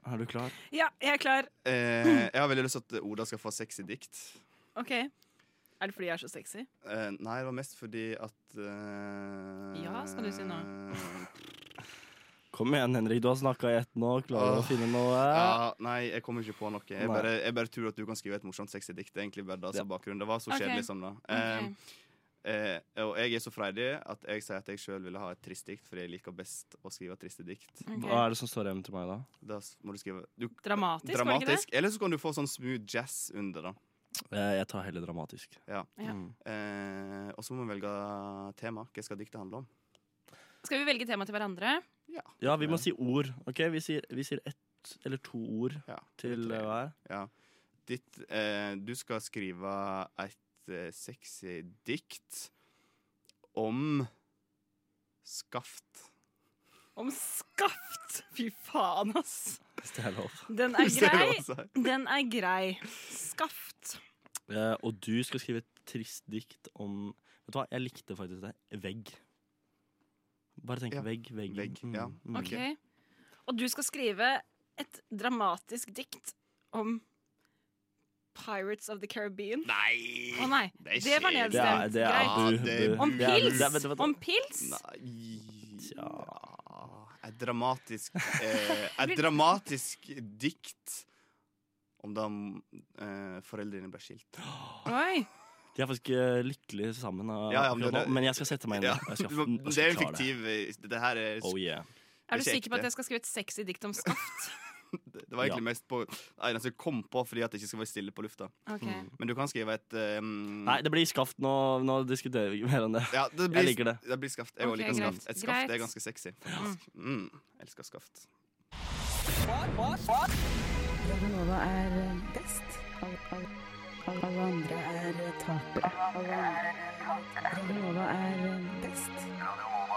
Er du klar?
Ja, jeg er klar.
Eh, jeg har veldig lyst til at Oda skal få sexy dikt.
OK. Er det fordi jeg er så sexy?
Eh, nei, det var mest fordi at eh,
Ja, skal du si nå?
Kom igjen, Henrik. Du har snakka i ett nå. Klarer du å
Åh.
finne noe?
Ja, nei, jeg kommer ikke på noe.
Nei.
Jeg bare, jeg bare tror at du kan skrive et morsomt sexy dikt. Det er Egentlig bare det som
Ja.
er bakgrunnen. Det var så
Ok.
kjedelig som det. Ehm, eh, og jeg er så freidig at jeg sier at jeg sjøl ville ha et trist dikt, fordi jeg liker best å skrive triste dikt.
Hva er det som står igjen til meg da?
Da s- må du skrive du,
Dramatisk, var det ikke det?
dramatisk. Eller så kan du få sånn smooth jazz under, da.
Eh, Jeg tar heller dramatisk.
Ja.
Ja.
Mm.
Eh, og så må vi velge tema. Hva skal diktet handle om?
Skal vi velge tema til hverandre?
Ja, vi
Eh.
må si ord. Ok, Vi sier, vi sier ett eller to ord
Ja,
til
eller tre.
hver.
Ditt, eh, du skal skrive et eh, sexy dikt om skaft.
Om skaft! Fy faen, ass.
Hvis det er lov.
Den er
Ser du hva
grei.
jeg sier?
Den er grei. Skaft.
Eh, og du skal skrive et trist dikt om Vet du hva, jeg likte faktisk det. Vegg. Bare tenk
Ja.
vegg, vegg.
Vegg,
Mm,
ja.
mm.
Ok. Og du skal skrive et dramatisk dikt om Pirates of the Caribbean.
Nei!
Å nei,
Det
det var
skjer.
Det er,
nedstemt.
det er
Greit.
bu,
Ja, det-
bu.
Om
Det er-
pils?
det er- vet du hva-
Om pils?
Nei
Tja.
Et dramatisk eh, Et dramatisk dikt om da eh, foreldrene ble skilt.
Oi.
De er faktisk eh, lykkelig sammen, og,
Ja, ja, men
men,
det-
jeg skal sette meg inn.
Ja.
og Jeg skal, jeg
Det
skal
er en
klare det.
fiktiv Det her er
Oh yeah.
Er du
Ikke
sikker på
ekte.
at jeg skal skrive et sexy dikt om skaft?
Det var egentlig mest på Nei, den som kom på fordi at det ikke skal være stille på lufta. Mm.
Ok.
Men du kan skrive et ehm,
Nei, det blir skaft. Nå, nå diskuterer vi ikke mer enn det.
ja, det blir,
jeg liker det.
blir skaft. Jeg også
Ok,
liker
greit.
skaft. Et skaft
Greit.
er ganske sexy. faktisk. Mm. Elsker skaft.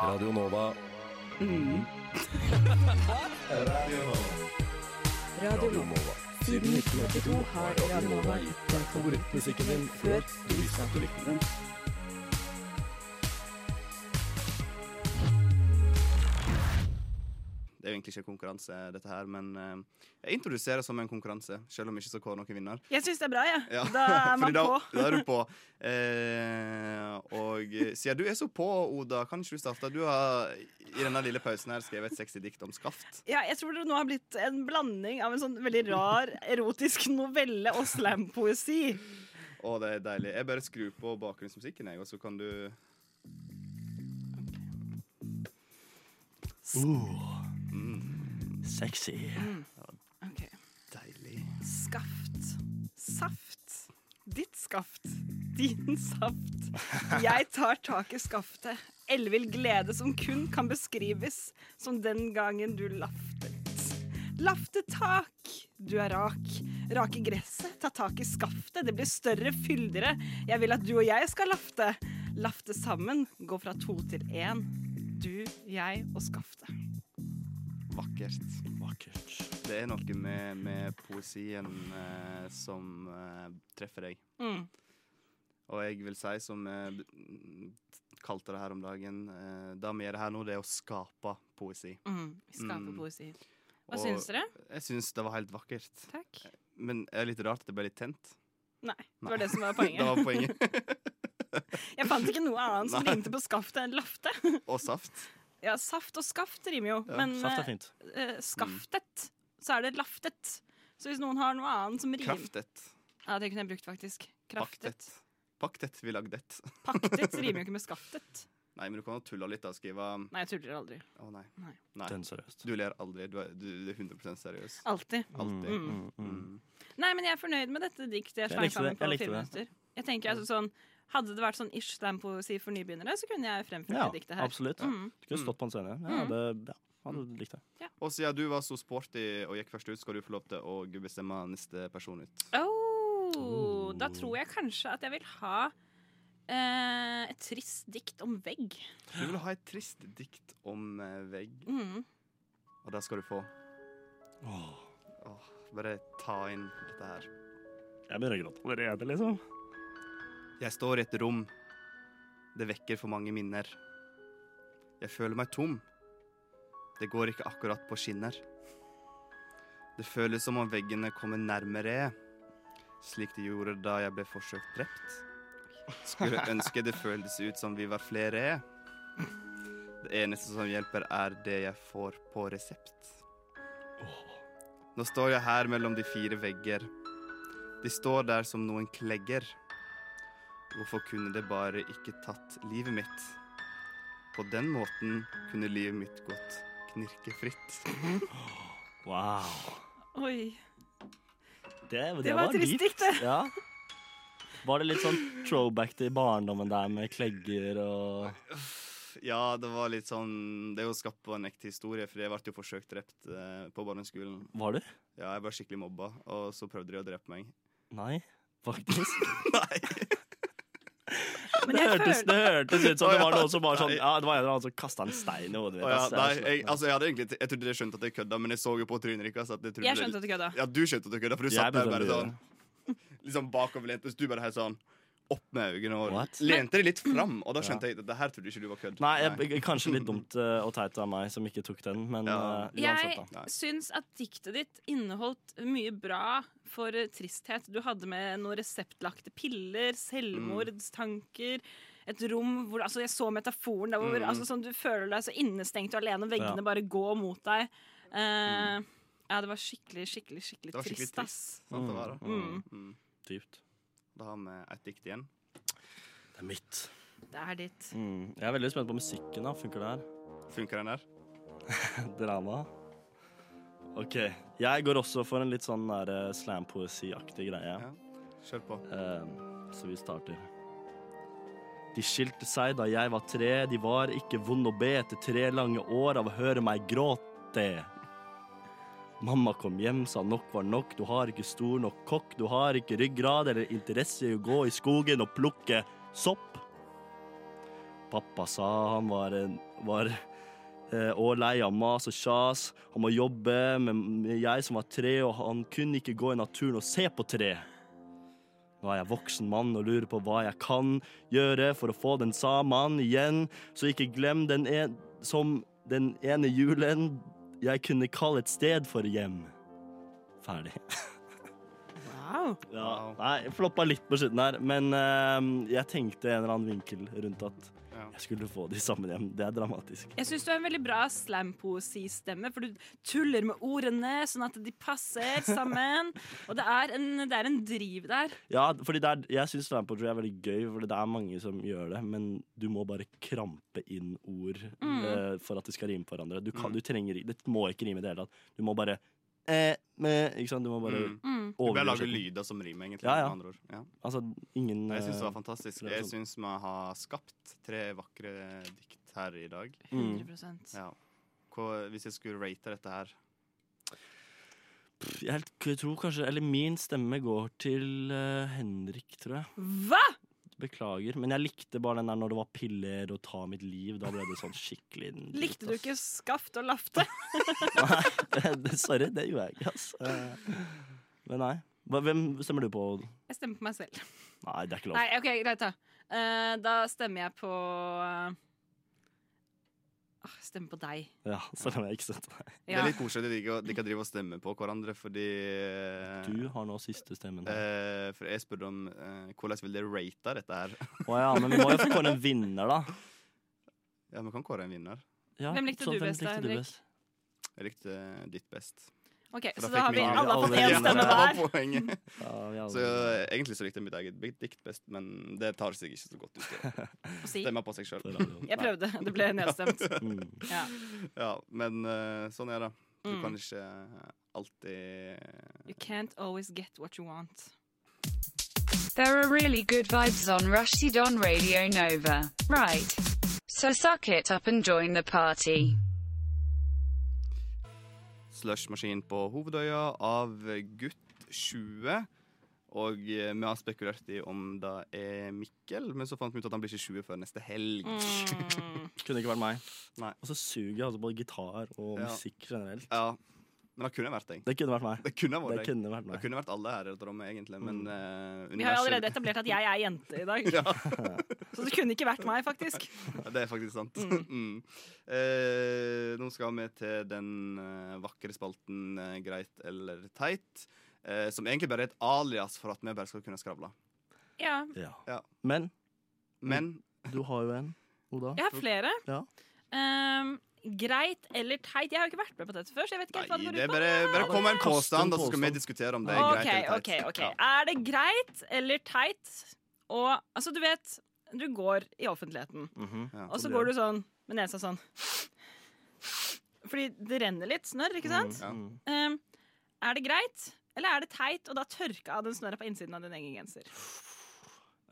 Radio Nova. Radio Nova. Siden 1982 har Radio Nova gitt deg favorittmusikken din før du visste at du likte den.
Det er jo egentlig ikke konkurranse, dette her, men eh, jeg introduserer som en konkurranse. Selv om ikke så kårer noen vinner.
Jeg syns det er bra, jeg.
Ja,
Da er man
fordi da,
på.
Da er du på. Eh, og eh, siden du er så på, Oda, kan ikke du starte? Du har i denne lille pausen her skrevet et sexy dikt om skaft.
Ja, jeg tror det nå har blitt en blanding av en sånn veldig rar erotisk novelle og slampoesi.
Å, det er deilig. Jeg bare skrur på bakgrunnsmusikken, jeg, og så kan du
Uh. Mm. Sexy.
Ok.
Deilig.
Skaft. Saft. Ditt skaft. Din saft. Jeg tar tak i skaftet. Ellevill glede som kun kan beskrives som den gangen du laftet. Lafte tak, du er rak. Rake gresset, ta tak i skaftet. Det blir større, fyldigere. Jeg vil at du og jeg skal lafte. Lafte sammen, gå fra to til én. Du, jeg og skaftet.
Vakkert.
Vakkert.
Det er noe med, med poesien eh, som eh, treffer deg.
Mm.
Og jeg vil si, som jeg kalte det her om dagen eh, Det vi gjør her nå, det er å skape poesi.
Mm. Vi skaper
Mm.
poesi. Hva
Og- eh,
syns dere?
Jeg syns det var helt vakkert.
Takk.
Men det er litt rart at det ble litt tent.
Nei, det
Nei.
var det som var
det
poenget.
var poenget.
Jeg fant ikke noe annet som
Nei.
ringte på skaft enn lafte.
Og saft.
Ja, saft og skaft rimer jo, men
Saft er fint.
eh, skaftet, så er det laftet. Så hvis noen har noe annet som rimer
Kraftet.
Ja, det kunne jeg brukt, faktisk. Kraftet.
Paktet. Paktet vi lagdet.
Paktet rimer jo ikke med skaftet.
Nei, men du kan jo tulle litt da og skrive um, Å
Nei, jeg tuller aldri.
nei.
Nei.
nei.
Den seriøst.
Du ler aldri. Du er, du, du er 100 seriøs.
Alltid.
Alltid.
Ah. Mm.
Mm, mm.
Mm.
Nei, men jeg er fornøyd med dette diktet. Jeg,
Jeg
tvang
likte
sammen
det, jeg
på
likte
fire
det.
minutter. Jeg tenker altså sånn Hadde det vært sånn ish slampoesi for nybegynnere, så kunne jeg fremført
Ja,
det diktet her.
absolutt.
Mm.
Du kunne stått på en scene. Ja, det, ja, hadde likt det.
Og siden du var så sporty og gikk først ut, skal du få lov til å bestemme neste person ut.
Oh, da tror jeg kanskje at jeg vil ha eh, et trist dikt om vegg.
Du vil ha et trist dikt om eh, vegg,
Mm.
og det skal du få. Åh, bare ta inn dette her.
Jeg begynner å gråte allerede, liksom.
Jeg står i et rom. Det vekker for mange minner. Jeg føler meg tom. Det går ikke akkurat på skinner. Det føles som om veggene kommer nærmere, slik de gjorde da jeg ble forsøkt drept. Skulle ønske det føltes ut som vi var flere. Det eneste som hjelper, er det jeg får på resept. Nå står jeg her mellom de fire vegger. De står der som noen klegger. Hvorfor kunne det bare ikke tatt livet mitt? På den måten kunne livet mitt gått knirkefritt.
Wow.
Oi.
Det, det,
var et trist dikt, det.
Ja. Var det litt sånn throwback til barndommen der med klegger og
Ja, det var litt sånn Det er jo skapt på en ekte historie, for jeg ble jo forsøkt drept eh, på barneskolen.
Var du?
Ja, jeg ble skikkelig mobba, og så prøvde de å drepe meg.
Nei, faktisk.
Men
Det
jeg
hørtes,
føler
det hørtes ut som det var
Å, ja.
noen som var sånn Ja, det var en eller annen som kasta en stein i hodet
Å,
mitt.
ja,
ass.
nei,
Jeg er
jeg,
sliten, ass.
altså, jeg, hadde egentlig, jeg trodde dere skjønte at jeg kødda, men jeg så jo på trynet deres at jeg trodde
Jeg skjønte at du kødda.
Ja, du skjønte at du kødda, for du
Jeg
satt der
bestemte
bare
å gjøre
sånn liksom bakoverlent, mens du bare helt sånn opp med øynene og
What?
lente det litt fram. Og da skjønte jeg det her trodde ikke du var kødd.
Nei, jeg, kanskje litt dumt eh, og teit av meg som ikke tok den, men
Ja.
eh,
Jeg
uansett, da.
syns at diktet ditt inneholdt mye bra for eh, tristhet. Du hadde med noen reseptlagte piller, selvmordstanker Et rom hvor altså Jeg så metaforen der hvor
Mm.
altså, sånn, du føler deg så innestengt og alene, og veggene
Ja.
bare går mot deg. Eh, Ja, det var skikkelig, skikkelig, skikkelig
Mm. Det var skikkelig
trist, ass.
trist. Sant det var, da.
Mm.
Mm.
Dypt.
da har vi et dikt igjen.
Det er mitt.
Det er ditt.
Mm. Jeg er veldig spent på musikken. da Funker det her?
Funker den der?
Drama. OK. Jeg går også for en litt sånn der, eh, slampoesiaktig greie.
Ja. Kjør på.
Eh, Så vi starter. De skilte seg da jeg var tre, de var ikke vond å be etter tre lange år av å høre meg gråte. Mamma kom hjem, sa nok var nok, du har ikke stor nok kokk, du har ikke ryggrad eller interesse i å gå i skogen og plukke sopp. Pappa sa han var, en, var eh, og lei av mas og kjas, han må jobbe, men jeg som var tre, og han kunne ikke gå i naturen og se på tre. Nå er jeg voksen mann og lurer på hva jeg kan gjøre for å få den samen igjen, så ikke glem den en, som den ene julen jeg kunne kalle et sted for hjem. Ferdig.
Wow.
Ja, nei, floppa litt på slutten her, men eh, jeg tenkte en eller annen vinkel rundt at
Ja.
jeg skulle få de sammen hjem. Det er dramatisk.
Jeg syns du har en veldig bra slampoesistemme, for du tuller med ordene sånn at de passer sammen. Og det er en, det er en driv der.
Ja, fordi det er, jeg syns slam poetry er veldig gøy, fordi det er mange som gjør det, men du må bare krampe inn ord
Mm.
eh, for at det skal rime på hverandre. Du,
Mm.
kan, du trenger, det må ikke rime i det hele tatt. Du må bare eh, med, Ikke sant? Du må bare
Mm.
Mm.
Du bør
overgjøre
lage
setningen.
lyder som rimer, egentlig.
Ja, ja.
med andre ord. Ja.
Altså, ingen
Jeg syns det var
eh,
fantastisk.
det er
Jeg
sånn.
syns vi har skapt tre vakre dikt her i dag.
100
Mm. Ja. Hva, hvis jeg skulle rate dette her
pff, jeg, helt- jeg tror kanskje Eller min stemme går til eh, Henrik, tror jeg.
Hva?!
Beklager. Men jeg likte bare den der når det var piller og ta mitt liv. Da ble det sånn skikkelig
Likte du
dritt,
ikke skaft og lafte?
ass. Nei, sorry, det gjorde jeg ikke, altså. Men nei. Hva- Hvem stemmer du på? Odd?
Jeg stemmer på meg selv.
Nei, det er ikke lov.
Nei, ok, greit da. Eh, da stemmer jeg på eh, åh, Jeg Stemmer på deg.
Ja, selv om jeg ikke støtter deg.
Det
Ja.
er litt koselig at de ikke de kan drive og stemme på hverandre, fordi
Du har nå siste stemmen. her.
eh, For jeg spurte om eh, hvordan vil dere rate dette her.
Å ja, men vi må jo kåre en vinner, da.
Ja, vi kan kåre en vinner.
Ja,
Hvem likte
så
du
hvem
best da,
likte du
Henrik?
best?
Jeg likte eh, ditt best.
Ok,
For
Så
da
da har
fikk
vi
vi
alle har fått
alle
én
en
stemme
det var
hver.
poenget.
Ja, vi alle-
Så eh, egentlig så likte jeg mitt eget dikt best, men det tar seg ikke så godt ut. til å
å Si.
Stemme på seg sjøl.
Det er radio.
Jeg prøvde. Det ble nedstemt.
Mm.
Ja.
Ja, men eh, sånn er det. Du
Mm.
kan ikke eh, alltid eh,
You can't always get what you want.
There are really good vibes on Rushdie Don Radio Nova. Right. So suck it up and join the party.
Slushmaskin på Hovedøya av gutt 20. Og eh, vi har spekulert i om det er Mikkel, men så fant vi ut at han blir ikke 20 før neste helg.
Mm.
Kunne ikke vært meg.
Nei.
Og så suger jeg altså på gitar og
Ja.
musikk generelt.
Ja, Men det kunne vært deg.
Det kunne vært meg.
Det kunne
Det
vært deg.
kunne Mm. vært
Det
meg.
kunne vært alle her i dette rommet, egentlig, men eh,
Vi har jo
universet-
allerede etablert at jeg er jente i dag,
ja,
så det kunne ikke vært meg, faktisk.
ja, det er faktisk sant. Mm. Eh, nå skal vi til den eh, vakre spalten eh, Greit eller teit, eh, som egentlig bare er et alias for at vi bare skal kunne skravle.
Ja,
Ja.
Ja.
Men
Mm.
Men
du har jo en, Oda.
Jeg har flere.
Ja.
Ehm, greit eller teit? Jeg har jo ikke vært med på dette før. så jeg vet ikke helt hva
Nei,
det
det er
går ut på.
bare, bare kom med en
Kast en
påstand, da så skal vi
påstand.
diskutere om det er
Ok,
greit eller
ok,
teit.
ok. Er det greit eller teit? Og altså, du vet, du går i offentligheten,
Mm-hmm.
Ja.
og så går du sånn med nesa sånn. Fordi det renner litt snørr, ikke sant?
Mm, Ja.
Mm.
Ehm, er det greit, eller er det teit, og da tørke av den snørra på innsiden av din egen genser?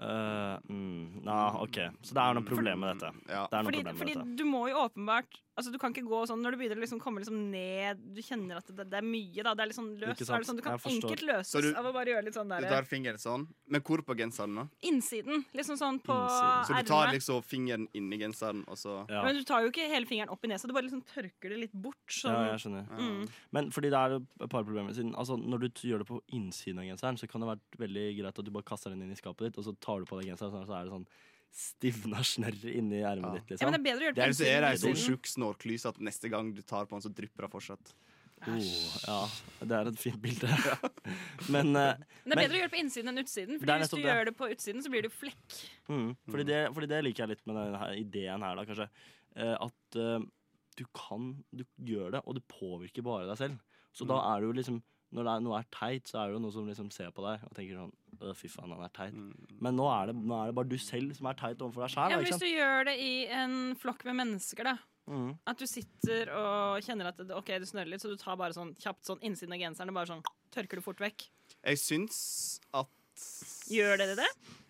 Eh, mm, Nei, OK. Så det er noe problem med dette.
Ja.
Det er noe
Fordi,
problem med
fordi
dette.
du må jo åpenbart Altså, du kan ikke gå sånn når du begynner å liksom komme liksom ned Du kjenner at det, det er mye, da. Det er litt sånn løst.
Ikke
Så
sant?
er det sånn, du kan
Jeg forstår.
enkelt løses
Så du-
av å bare gjøre litt sånn
Du
der
tar fingeren sånn, men hvor på genseren da?
Innsiden. Liksom sånn på
Så du tar
ermet.
liksom fingeren inni genseren, og så
Men du tar jo ikke hele fingeren opp i nesa, du bare liksom tørker det litt bort. Sånn.
Ja, jeg skjønner.
Mm.
Men fordi det er et par problemer siden altså, Når du t- gjør det på innsiden av genseren, så kan det være veldig greit at du bare kaster den inn i skapet ditt, og så tar du på deg genseren, så er det sånn stivna snørr inni ermet ditt. Liksom.
Ja, men det er bedre å gjøre det på
Eller så er det ei
innsiden.
sånn tjukk snorklyse at neste gang du tar på den, så drypper det fortsatt.
Oh, ja, det er et fint bilde. men, eh,
Men det er bedre å gjøre det på innsiden enn utsiden.
Det
Fordi
er
hvis du
nettopp det.
gjør det på utsiden, så blir det jo flekk.
Mm. Fordi, det, fordi det liker jeg litt med denne ideen her, da, kanskje. Eh, at eh, du kan Du gjør det, og det påvirker bare deg selv. Så da er det jo liksom Når det er, noe er teit, så er det jo noe som liksom ser på deg og tenker sånn «Å, Fy faen, han er teit. Men nå er, det, nå er det bare du selv som er teit overfor deg
Ja,
sjæl.
men hvis du gjør det i en flokk med mennesker, da.
Mm.
At du sitter og kjenner at det, ok, det snørrer litt, så du tar bare sånn kjapt sånn innsiden av genseren og bare sånn tørker det fort vekk.
Jeg syns at
Gjør dere det?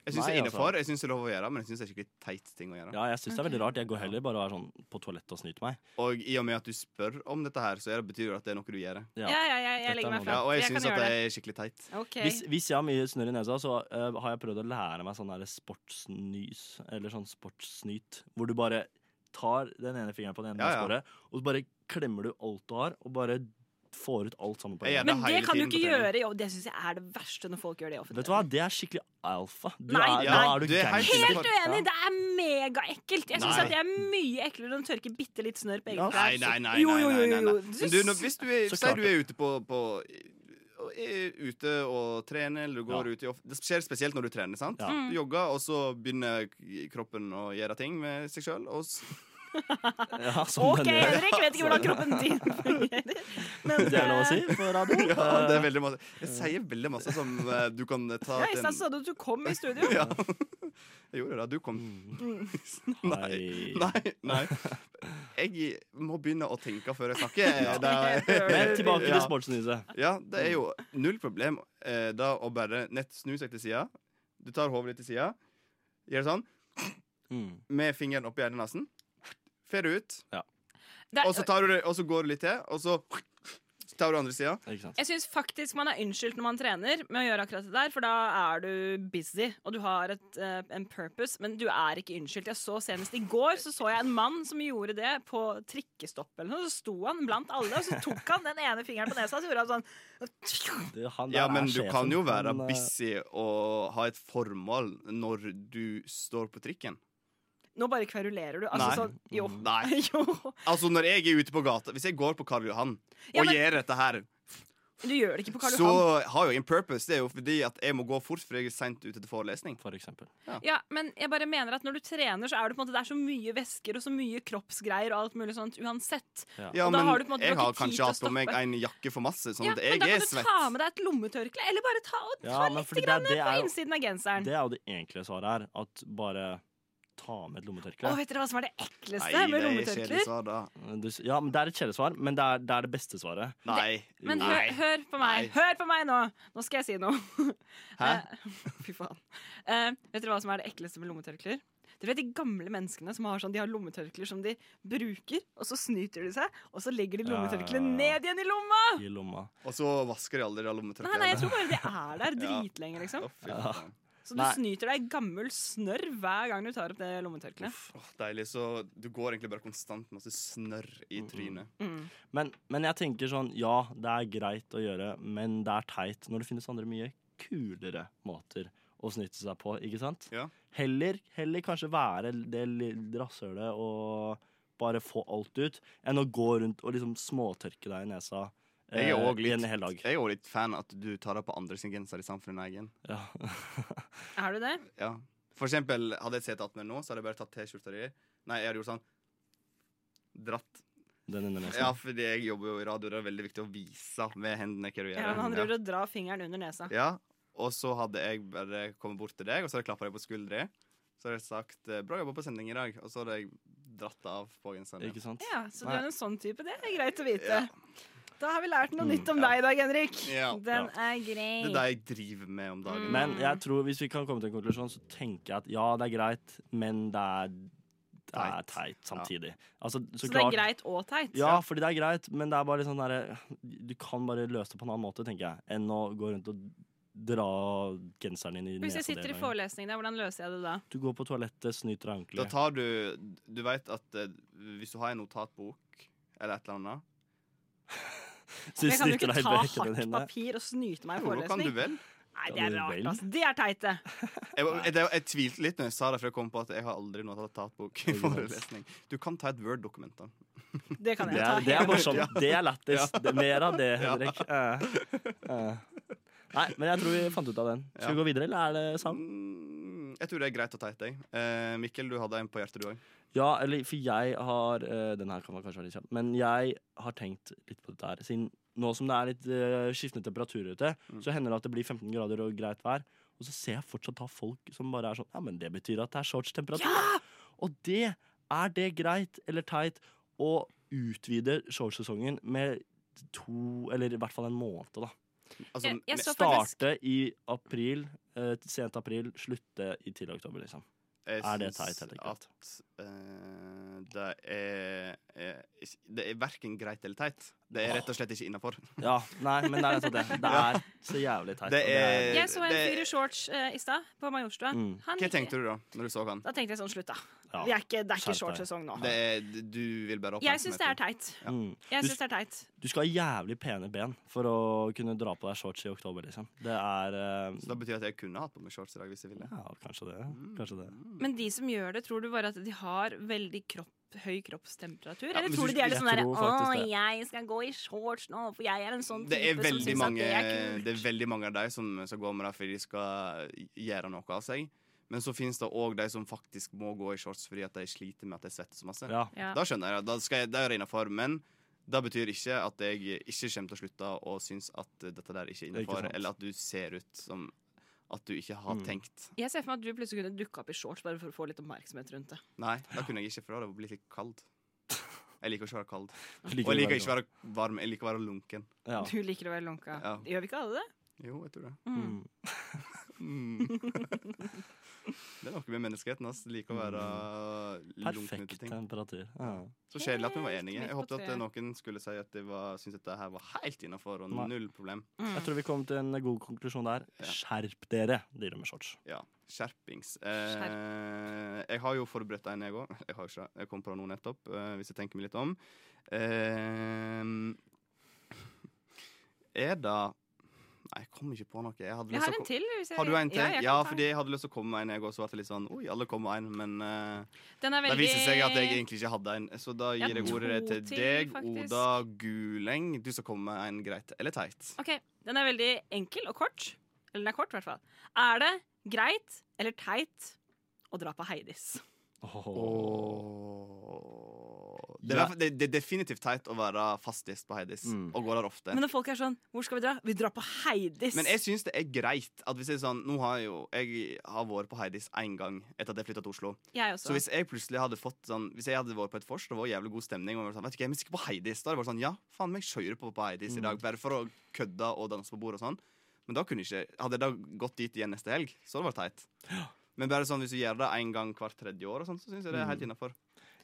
Jeg syns
Nei,
det er
altså.
innafor, jeg syns det er lov å gjøre, men jeg syns det er skikkelig teit ting å gjøre.
Ja, jeg syns det er veldig rart. Jeg går heller bare og er sånn på toalettet og snyter meg.
Og i og med at du spør om dette her, så er det betyr det at det er noe du gjør.
Ja. Ja, ja, ja, jeg Dette legger meg er noe- flat.
og jeg
Jeg kan
syns at
gjøre
det
det.
er skikkelig teit.
Ok.
Hvis, hvis jeg har mye snørr i nesa, så eh, har jeg prøvd å lære meg sånn der sportsnys, eller sånn sportssnyt, hvor du bare tar den ene fingeren på den ene
Ja, ja.
neseboret, og så bare klemmer du alt du har, og bare får ut alt sammen på en gang.
Men det kan du ikke gjøre i og Det syns jeg er det verste når folk gjør det i offentlig.
Vet du hva, det er skikkelig alfa. Du
Nei,
er,
nei,
da er du
du er helt
gangster.
Helt uenig! Det er megaekkelt. Jeg syns
Nei.
at det er mye eklere enn å tørke bitte litt snørr på
Nei,
egen
nei,
klær.
nei. nei,
Jo, jo, jo,
nei, nei,
jo.
nei. Men du, når, hvis du er,
Så
sier
klart
du er ute på, på og er ute og trener, eller du går ut i off Det skjer spesielt når du trener. sant?
Ja.
Mm.
Du jogger, og så begynner k- kroppen å gjøre ting med seg sjøl.
Ja, som den
Ok,
gjør.
Henrik vet ikke hvordan kroppen din fungerer. Men, eh,
Det er lov å si
på radio. Eh,
Ja, det er veldig masse. Jeg sier veldig masse som eh, du kan ta
Ja, I stad
en-
sa du at du kom i studio.
Ja. Jeg gjorde det. Du kom.
mm.
Nei. Nei. nei. Jeg må begynne å tenke før jeg snakker.
Ja.
Det er-
Men tilbake til
Ja.
sportsnyset.
Ja, det er jo null problem eh, da å bare nett snu seg til sida. Du tar hodet ditt til sida, gjør det sånn,
Mm.
med fingeren oppi hjernenesen. Fer det ut,
Det er-
og så, tar du det, og så går du litt til, og så tar du andre sida.
Jeg syns faktisk man er unnskyldt når man trener med å gjøre akkurat det der, for da er du busy, og du har et, eh, en purpose, men du er ikke unnskyldt. Jeg så senest i går så så jeg en mann som gjorde det på trikkestopp eller noe, så sto han blant alle, og så tok han den ene fingeren på nesa, og så gjorde han sånn
Han der
Ja,
er
men du
sjefen,
kan jo være
han, eh,
busy og ha et formål når du står på trikken.
Nå bare kverulerer du. Altså sånn Jo.
Nei. Altså, når jeg er ute på gata, hvis jeg går på Karl Johan
Ja,
og
men-
gjør dette her,
Du gjør det ikke på Karl
så
Johan.
har jeg en purpose. Det er jo fordi at jeg må gå fort, for jeg er seint ute til forelesning.
For eksempel.
Ja, men jeg bare mener at når du trener, så er det på en måte Det er så mye væsker og så mye kroppsgreier og alt mulig sånt uansett.
Ja,
og da
men
har du på en måte
jeg
ikke
har
tid
kanskje
til å
hatt på meg
stoppe.
en jakke for masse, sånn
ja,
at
men da
jeg er
kan du
svett.
ta med deg et lommetørkle, eller bare ta, og ta
Ja, men
litt
fordi
grann
det- det
på
er jo-
innsiden av genseren.
Det er jo det egentlige svaret her. At bare ta med et lommetørkle.
Å, vet dere hva som er det ekleste
Nei,
med
det er
lommetørklær?
svar, da.
Ja, men det er et kjedelig svar, men det er det, er det beste svaret.
Nei.
Men hør, hør på meg. Hør på meg nå! Nå skal jeg si noe.
Hæ?
Eh, Fy faen. Eh, vet dere hva som er det ekleste med lommetørklær? Dere vet De gamle menneskene som har sånn, de har lommetørklær som de bruker, og så snyter de seg, og så legger de
Ja, ja, ja,
Ah.
lommetørkleet
ja.
ned igjen i lomma!
I lomma.
Og så vasker de aldri det lommetørkleet.
Nei, nei, jeg tror bare det er der dritlenge, liksom.
Ja.
Så du
Nei.
snyter deg gammel snørr hver gang du tar opp det lommetørkleet.
Åh, deilig. Så du går egentlig bare konstant masse snørr i trynet.
Mm.
Men, men jeg tenker sånn, ja, det er greit å gjøre, men det er teit når det finnes andre mye kulere måter å snytte seg på, ikke sant? Heller, heller kanskje være det lille rasshølet og bare få alt ut, enn å gå rundt og liksom småtørke deg i nesa
Jeg er
eh,
òg
i en hel dag.
litt, jeg er også litt fan at du tar deg på andre sin genser i samfunnet enn egen.
Ja.
Er du det?
ja. For eksempel, hadde jeg sett at meg nå, så hadde jeg bare tatt T-skjorta di. Nei, jeg hadde gjort sånn. Dratt.
Den under nesen.
Ja, fordi jeg jobber jo i radio, det er veldig viktig å vise med hendene hva du gjør.
Ja, men han driver og drar fingeren under nesa.
Ja, og så hadde jeg bare kommet bort til deg, og så hadde jeg klappa deg på skuldra. Så hadde jeg sagt eh, 'bra jobba på sending i dag', og så hadde jeg dratt det av på genseren.
Ikke sant?
Ja, så du
Nei.
er en sånn type. Det er greit å vite. Da har vi lært noe nytt om deg i dag, Henrik.
Ja.
Den
Ja.
er grei.
Det er det jeg driver med om
Mm.
dagen.
Men jeg tror hvis vi kan komme til en konklusjon, så tenker jeg at ja, det er greit, men det er er
Teit.
teit samtidig. Altså, så,
Så det
klart,
er greit og teit.
Ja, fordi det er greit, men det er bare litt sånn derre Du kan bare løse det på en annen måte, tenker jeg, enn å gå rundt og dra genseren din i
Hvis
nesa
jeg sitter i
dine.
forelesning der, hvordan løser jeg det da?
Du går på toalettet, snyter deg
Da
ordentlig.
tar du Du vet at eh, hvis du har en notatbok eller et eller annet
Så du
jeg kan jo
snyter
ikke
deg i
ta
bøkene
hardt
dine.
papir og snyte meg i
Jo, nå kan du
forelesning.
vel?
Nei, det
Kan
er
du
rart,
vel?
altså. Det er teit, det.
Jeg, jeg, jeg, jeg tvilte litt når jeg sa det, for jeg kom på at jeg har aldri notatbok i
Ikke sant.
forelesning. Du kan ta et Word-dokument, da.
Det kan
Det
jeg
er,
ta.
det er morsomt.
Ja.
Det er lættis. Det er Mer av det,
Ja.
Henrik. Eh, eh. Nei, men jeg tror vi fant ut av den. Skal vi
Ja.
gå videre, eller er det sang?
Mm, jeg tror det er greit og teit, jeg. Eh, Mikkel, du hadde en på hjertet, du òg.
Ja, eller for jeg har eh, Den her kan man kanskje være litt kjapp, men jeg har tenkt litt på dette her. Siden nå som det er litt eh, skiftende temperaturer ute,
Mm.
så hender det at det blir 15 grader og greit vær. Og så ser jeg fortsatt ha folk som bare er sånn Ja, men det betyr at det er shortstemperatur. Og det er det greit eller teit å utvide shortsesongen med to, eller i hvert fall en måned, da.
Altså,
Jeg- jeg
ne-
så faktisk-
Starte i april, eh, sent april, slutte i tidlig oktober, liksom.
jeg
er det
syns
teit eller greit?
At, eh, det er eh, Det er verken greit eller teit. Det er rett og slett ikke innafor.
Ja, nei, men det er nettopp det. Det er så jævlig teit.
Det
og
er-
Jeg så en
det-
fyr i shorts eh, i stad, på Majorstua.
Mm.
Han
Hva
gikk-
tenkte du da når du så han?
Da tenkte jeg sånn, slutt, da.
Ja.
Vi er ikke, det er ikke
Skjerp deg.
shortsesong nå.
Det er, du vil bare
Ah. Jeg syns det er teit.
Mm.
Jeg
Du-
synes det er teit.
Du skal ha jævlig pene ben for å kunne dra på deg shorts i oktober, liksom. Det er eh,
Så da betyr det at jeg kunne hatt på meg shorts i dag hvis jeg ville.
Ja, kanskje det.
Mm.
Kanskje det.
Men de som gjør det, tror du bare at de har veldig kropp, høy kroppstemperatur?
Ja,
Eller
men
tror
du-
du de er litt
jeg
sånn derre
tror
Å,
faktisk det.»
jeg skal gå i shorts nå, for jeg er en sånn
Det er
type som
veldig
syns at
mange
det er
Det er
kult.
veldig mange av de som skal gå med det fordi de skal gjøre noe av seg. Men så finnes det òg de som faktisk må gå i shorts fordi at de sliter med at de svetter så masse.
Ja.
Ja.
Da skjønner jeg det. Da skal jeg, det er innafor. Men det betyr ikke at jeg ikke kommer til å slutte å synes at dette der ikke er
er ikke
innafor,
sant.
eller at du ser ut som at du ikke har
Mm.
tenkt.
Jeg ser for meg at du plutselig kunne dukke opp i shorts bare for å få litt oppmerksomhet rundt det.
Nei, da kunne jeg ikke, for da hadde jeg blitt litt kald. Jeg liker ikke å være kald. Og
Liker du
jeg liker
bare
ikke å være varm. Jeg liker å være lunken.
det? ja.
Du liker å være lunka.
Ja.
Gjør vi ikke alle det?
Jo, jeg tror det.
Mm.
Mm. Det er noe med menneskeheten. ass. liker å være lunken
Mm. Perfekt
til ting.
temperatur. Ja.
Så kjedelig at vi var enige.
midt
Jeg
på
håpet at
treet.
noen skulle si at de var- syntes at det her var helt innafor og
Nei.
null problem.
Mm.
Jeg tror vi kom til en god konklusjon der.
Ja.
Skjerp dere, dyre med shorts.
Ja, skjerpings. Eh, jeg har jo forberedt en, jeg òg. Jeg har jo ikke det. Jeg kom på det nå nettopp, eh, hvis jeg tenker meg litt om. Eh, er det Nei, jeg kom ikke på noe. Jeg hadde
Jeg
lyst til
har
å
en
ko-
til. Hvis jeg,
Har du en til?
Ja,
Ja,
jeg kan ta en.
fordi jeg hadde lyst til å komme med en, jeg òg. Så ble det litt sånn Oi, alle kom med en, men eh,
Den er
Det
veldig
viste seg at jeg egentlig ikke hadde en, så da
Jeg
gir jeg
tror
ordet til
til,
deg,
faktisk.
Oda Guleng. Du skal komme med en greit eller teit.
Ok, Den er veldig enkel og kort. Eller den er kort, i hvert fall. Er det greit eller teit å dra på Heidis?
Åh.
Det, er, i hvert fall- det, det er definitivt teit å være fastgjest på Heidis,
Mm.
og gå der ofte.
Men
Men,
når folk er sånn Hvor skal vi dra? Vi drar på Heidis!
jeg syns det er greit at hvis jeg er sånn Nå har jeg jo Jeg har vært på Heidis én gang etter at jeg flytta til Oslo.
Jeg også.
Så hvis jeg plutselig hadde fått sånn Hvis jeg hadde vært på et vors, det var jævlig god stemning, og jeg var sånn, vet du hva, vi skal på Heidis, da hadde jeg vært sånn Ja, faen meg kjører på på Heidis i dag, bare for å kødde og danse på bordet og sånn. Men da kunne jeg ikke Hadde jeg da gått dit igjen neste helg, så hadde det vært teit. Men bare sånn hvis du gjør det en gang hvert tredje år, og sånn, så syns jeg det er helt innafor.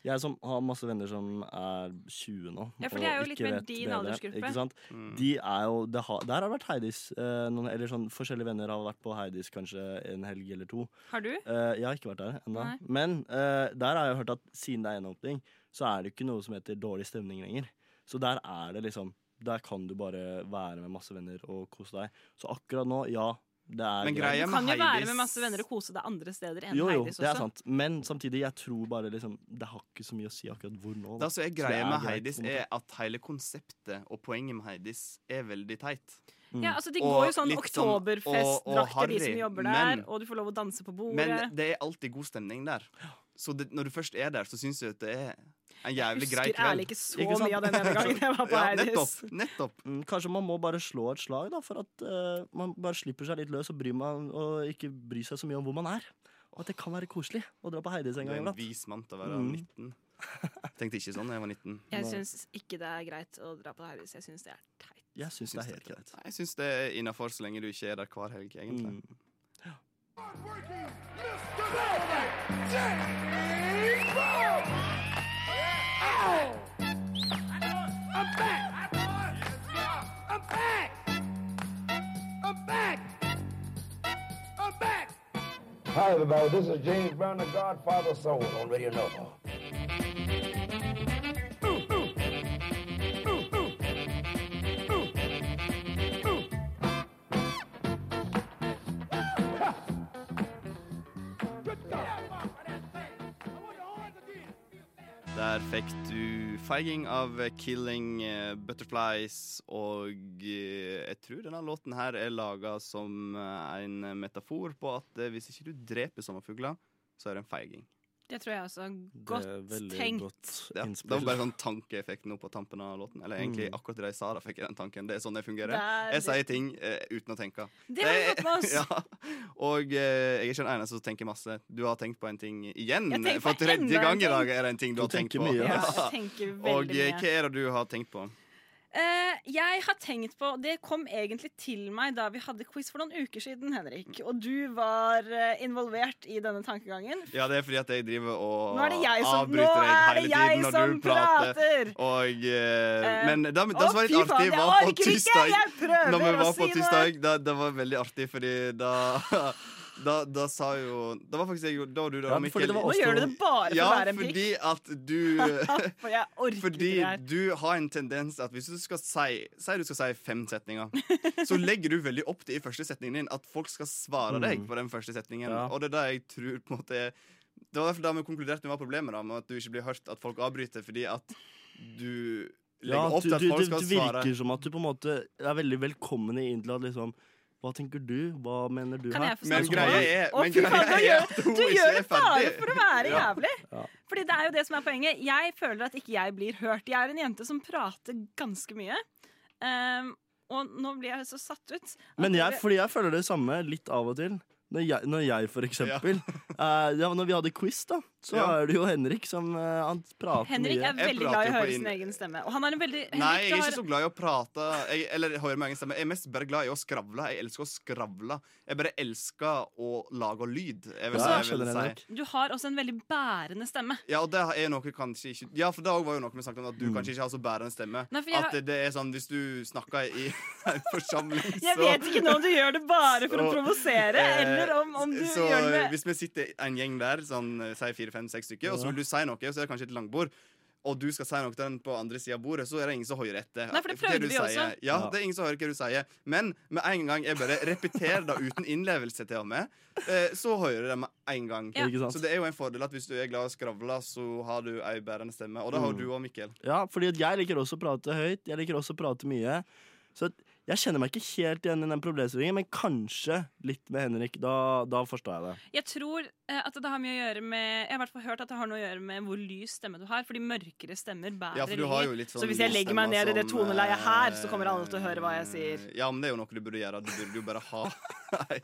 Jeg som har masse venner som er 20 nå.
Ja, for
og
de er jo litt
ikke
mer
vet
din
bedre,
aldersgruppe.
Ikke sant?
Mm.
De er jo, det har, der har det vært Heidis. Eh, noen, eller sånn, forskjellige venner har vært på Heidis kanskje en helg eller to.
Har du?
Eh, jeg har ikke vært der ennå.
Nei.
Men eh, der har jeg hørt at siden det er gjenåpning, så er det ikke noe som heter dårlig stemning lenger. Så der er det liksom Der kan du bare være med masse venner og kose deg. Så akkurat nå, ja, det er
Men
greit.
greia
Du kan jo
med
være
Heidis
med masse venner og kose deg andre steder enn
Jo, jo,
Heidis
det er
også.
sant. Men samtidig, jeg tror bare liksom Det har ikke så mye å si akkurat hvor nå.
Det som er
Så det
greia
er
med
greit,
Heidis,
på en måte.
er at hele konseptet og poenget med Heidis er veldig teit.
Ja, altså De
Mm. Og
går jo sånn
litt sånn- og- og
oktoberfestdrakter, de som
harry,
jobber der.
men-
Og du får lov å danse på bordet.
Men det er alltid god stemning der. Så det, når du først er der, så syns jeg at det er en jævlig grei
Husker
kveld.
ærlig ikke så
Ikke sant?
mye av den ene gangen jeg var på
Ja,
Heidis.
nettopp, nettopp.
Mm, Kanskje man må bare slå et slag, da, for at eh, man bare slipper seg litt løs og, bryr man, og ikke bryr seg så mye om hvor man er. Og at det kan være koselig å dra på Heidis
Du
en
er
gang
en
iblant.
vis mann til å være
Mm.
19. Tenkte ikke sånn da jeg var 19.
Jeg syns ikke det er greit å dra på Heidis. Jeg syns det er teit.
Jeg syns det er helt
ikke
greit.
Nei, Jeg syns det er innafor så lenge du ikke er der hver helg, egentlig.
Mm.
Jay Brown!
Hi, everybody. This is James Brown, the Godfather of Soul on Radio Nova.
Der fikk du feiging av Killing eh, Butterflies, og eh, jeg tror denne låten her er laga som eh, en metafor på at eh, hvis ikke du dreper sommerfugler, så er det en feiging.
Det tror jeg også. Godt tenkt.
Ja, det var bare sånn tankeeffekt nå på tampen av låten. Eller egentlig
Mm.
akkurat det jeg sa, da fikk jeg den tanken. Det er sånn det fungerer.
Der.
Jeg sier ting eh, uten å tenke.
Det har vi fått med oss.
ja. Og eh, jeg er ikke den eneste som tenker masse. Du har tenkt på en ting igjen.
Jeg tenker
For
på enda
tredje
en
gang i
ting.
dag er det en ting du,
Du
har tenkt
tenker
på.
mye,
Ja.
ass.
Jeg tenker veldig
Og eh,
mye.
hva er det du har tenkt på?
Eh, jeg har tenkt på Det kom egentlig til meg da vi hadde quiz for noen uker siden, Henrik. Og du var eh, involvert i denne tankegangen.
Ja, det er fordi at jeg driver og
Nå er det jeg som-
avbryter
nå
deg
er
hele
det
tiden
jeg
når du
som prater.
Og, eh,
Eh,
men det, det
å,
som var litt
fy faen,
artig,
jeg
var på
orker ikke,
tirsdag.
jeg prøver
Når vi
å
var
si
på
noe.
tirsdag, da, det var veldig artig, fordi da da, da sa jo Da var faktisk jeg Da var du der,
Ja,
Mikkel.
fordi det var Nå oss gjør du to. det bare for å
ja,
være en pikk.
Fordi at du
For jeg orker
Fordi
ikke det her.
du har en tendens at hvis du skal si Si du skal si fem setninger, så legger du veldig opp til i første setningen din at folk skal svare
Mm.
deg på den første setningen.
Ja.
Og det er det jeg tror på en måte er Det var derfor da vi konkluderte med hva problemet da, med at du ikke blir hørt, at folk avbryter, fordi at du legger
Ja,
opp
du,
til at
du,
folk
det
skal svare.
virker som at du på en måte er veldig velkommen inn til at liksom Hva tenker du? Hva mener du
Kan
her?
jeg få snakke? Å,
men
fy faen,
greia
nå
er
gjør-
at hun
Du
ikke
gjør
er
det bare
ferdig.
for å være
Ja.
jævlig. Fordi det er jo det som er poenget. Jeg føler at ikke jeg blir hørt. Jeg er en jente som prater ganske mye. Ehm, og nå blir jeg så satt ut. at
Men jeg,
dere-
fordi jeg føler det samme litt av og til. Når jeg, når jeg for eksempel eh, ja, Når vi hadde quiz, da, så
Ja.
er det jo Henrik som eh, Han prater
Henrik
mye.
er veldig glad i å høre sin egen stemme. Og han er en veldig Henrik,
Nei, jeg
du
er
har-
ikke så glad i å prate. Jeg, eller høre med egen stemme. Jeg er mest bare glad i å skravle. Jeg elsker å skravle. Jeg bare elsker å lage lyd. Jeg vil,
Ja,
jeg vil
skjønner jeg
si.
Du har også en veldig bærende stemme.
Ja, og det er noe kanskje ikke Ja, for det også var jo noe vi snakket om, at du
Mm.
kanskje ikke har så bærende stemme.
Nei, for jeg
At
har-
det er sånn hvis du snakker i en forsamling, så
Jeg vet ikke nå om du gjør det bare for å
så-
provosere,
eh,
eller om, om du
så,
gjør det med
Hvis vi sitter en gjeng der, sånn, eh, si fire-fem-seks stykker, og så
Ja.
vil du si noe, så er det kanskje et langbord. Og du skal si noe til den på andre sida av bordet, så er det ingen som hører etter.
Nei, for det
Hva
prøvde
du
vi også.
sier. Ja,
Ja.
det er ingen som hører hva du sier. Men med en gang jeg bare repeterer det uten innlevelse til og med, eh, så hører de med en gang.
Ja. Ikke sant?
Så det er jo en fordel at hvis du er glad i å skravle, så har du ei bærende stemme. Og det har jo
Mm.
du òg, Mikkel.
Ja, fordi at jeg liker også å prate høyt. Jeg liker også å prate mye. Så at jeg kjenner meg ikke helt igjen i den problemstillingen, men kanskje litt med Henrik. Da, da forstår jeg det.
Jeg tror eh, at det har mye å gjøre med Jeg har i hvert fall hørt at det har noe å gjøre med hvor lys stemme du har, fordi mørkere stemmer bærer
Ja, for du har jo
lenger.
litt sånn
Så hvis jeg
lys
legger meg
stemme
ned i det
som, eh,
toneleiet her, så kommer alle til å høre hva jeg sier.
Ja, men det er jo noe du burde gjøre. Du burde jo bare ha Nei,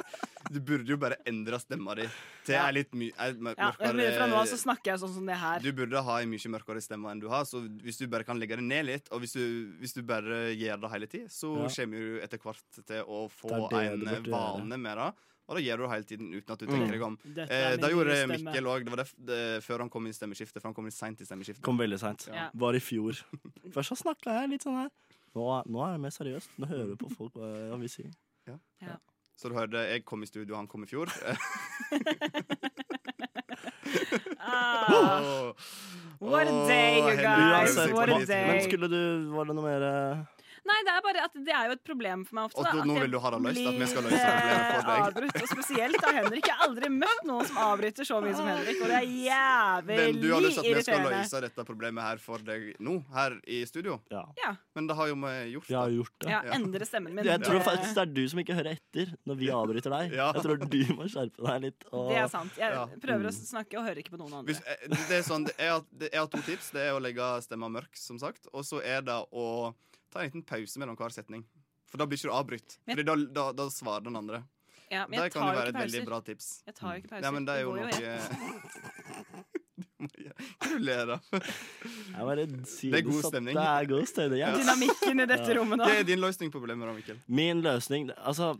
Du burde jo bare endre stemma di til ei litt my ei mør-
Ja, jeg begynner Fra nå av så
mørkere
snakker jeg sånn som det her.
Du burde ha ei mye mørkere stemme enn du har, så hvis du bare kan legge det ned litt, og hvis du, hvis du bare gjør det hele tida, så
Ja.
kommer du etter hvert til å få
Det er det
en
du burde
vane med det. Og det gjør du hele tiden uten at du
Mm.
tenker deg om.
Dette er
Eh,
min
det gjorde
nye stemme.
Mikkel òg. Det var det, det, før han kom inn i stemmeskiftet. For han kom inn seint i stemmeskiftet.
Kom veldig seint.
Ja.
Var i fjor. Først så snakka jeg litt sånn her. Nå, er- nå er det mer seriøst. Nå hører du på folk hva jeg vil si.
Så du hørte jeg kom i studio, han kom i fjor.
Ah. What a day, you guys.
Uansett,
What a
Matt, men
day.
skulle du Var det noe mer eh,
Nei, det er bare at det er jo et problem for meg ofte.
Og
da,
nå-
at
nå
jeg
vil du ha det løst, at vi skal
blir,
løse problemet for
eh,
deg.
Avbrutt, og spesielt av Henrik. Jeg har aldri møtt noen som avbryter så mye som Henrik, og det er
Men du har lyst til at vi
jævlig
skal
irriterende.
løse dette problemet her for deg nå, her i studio.
Ja.
Men det har jo vi gjort.
Jeg har gjort det.
Ja, endre stemmen min.
Jeg tror
Det-
faktisk det er du som ikke hører etter når vi avbryter deg. Jeg tror du må skjerpe deg litt. Og...
Eh, Det er sant. Jeg
Ja.
prøver å
Mm.
snakke og hører ikke på noen andre.
Hvis, eh, det er sånn, det- jeg, har, det- jeg har to tips. Det er å legge stemma mørk, som sagt. Og så er det å ta en liten pause mellom hver setning. For da blir ikke du avbrutt. Fordi da, da, da svarer den andre.
Ja,
det
men jeg
kan jo
tar jo
være
ikke
et veldig
pauser.
bra tips.
Jeg tar jo ikke pauser.
Nei, men det er
Det
jo
går jo
noe Du må gjøre- Hva du ler av?
Jeg bare sier
Det er god
satt-
stemning.
Det er god stemning. jeg-
Dynamikken i dette rommet, da.
Det er din løsning på problemet, da, Mikkel.
Min løsning Altså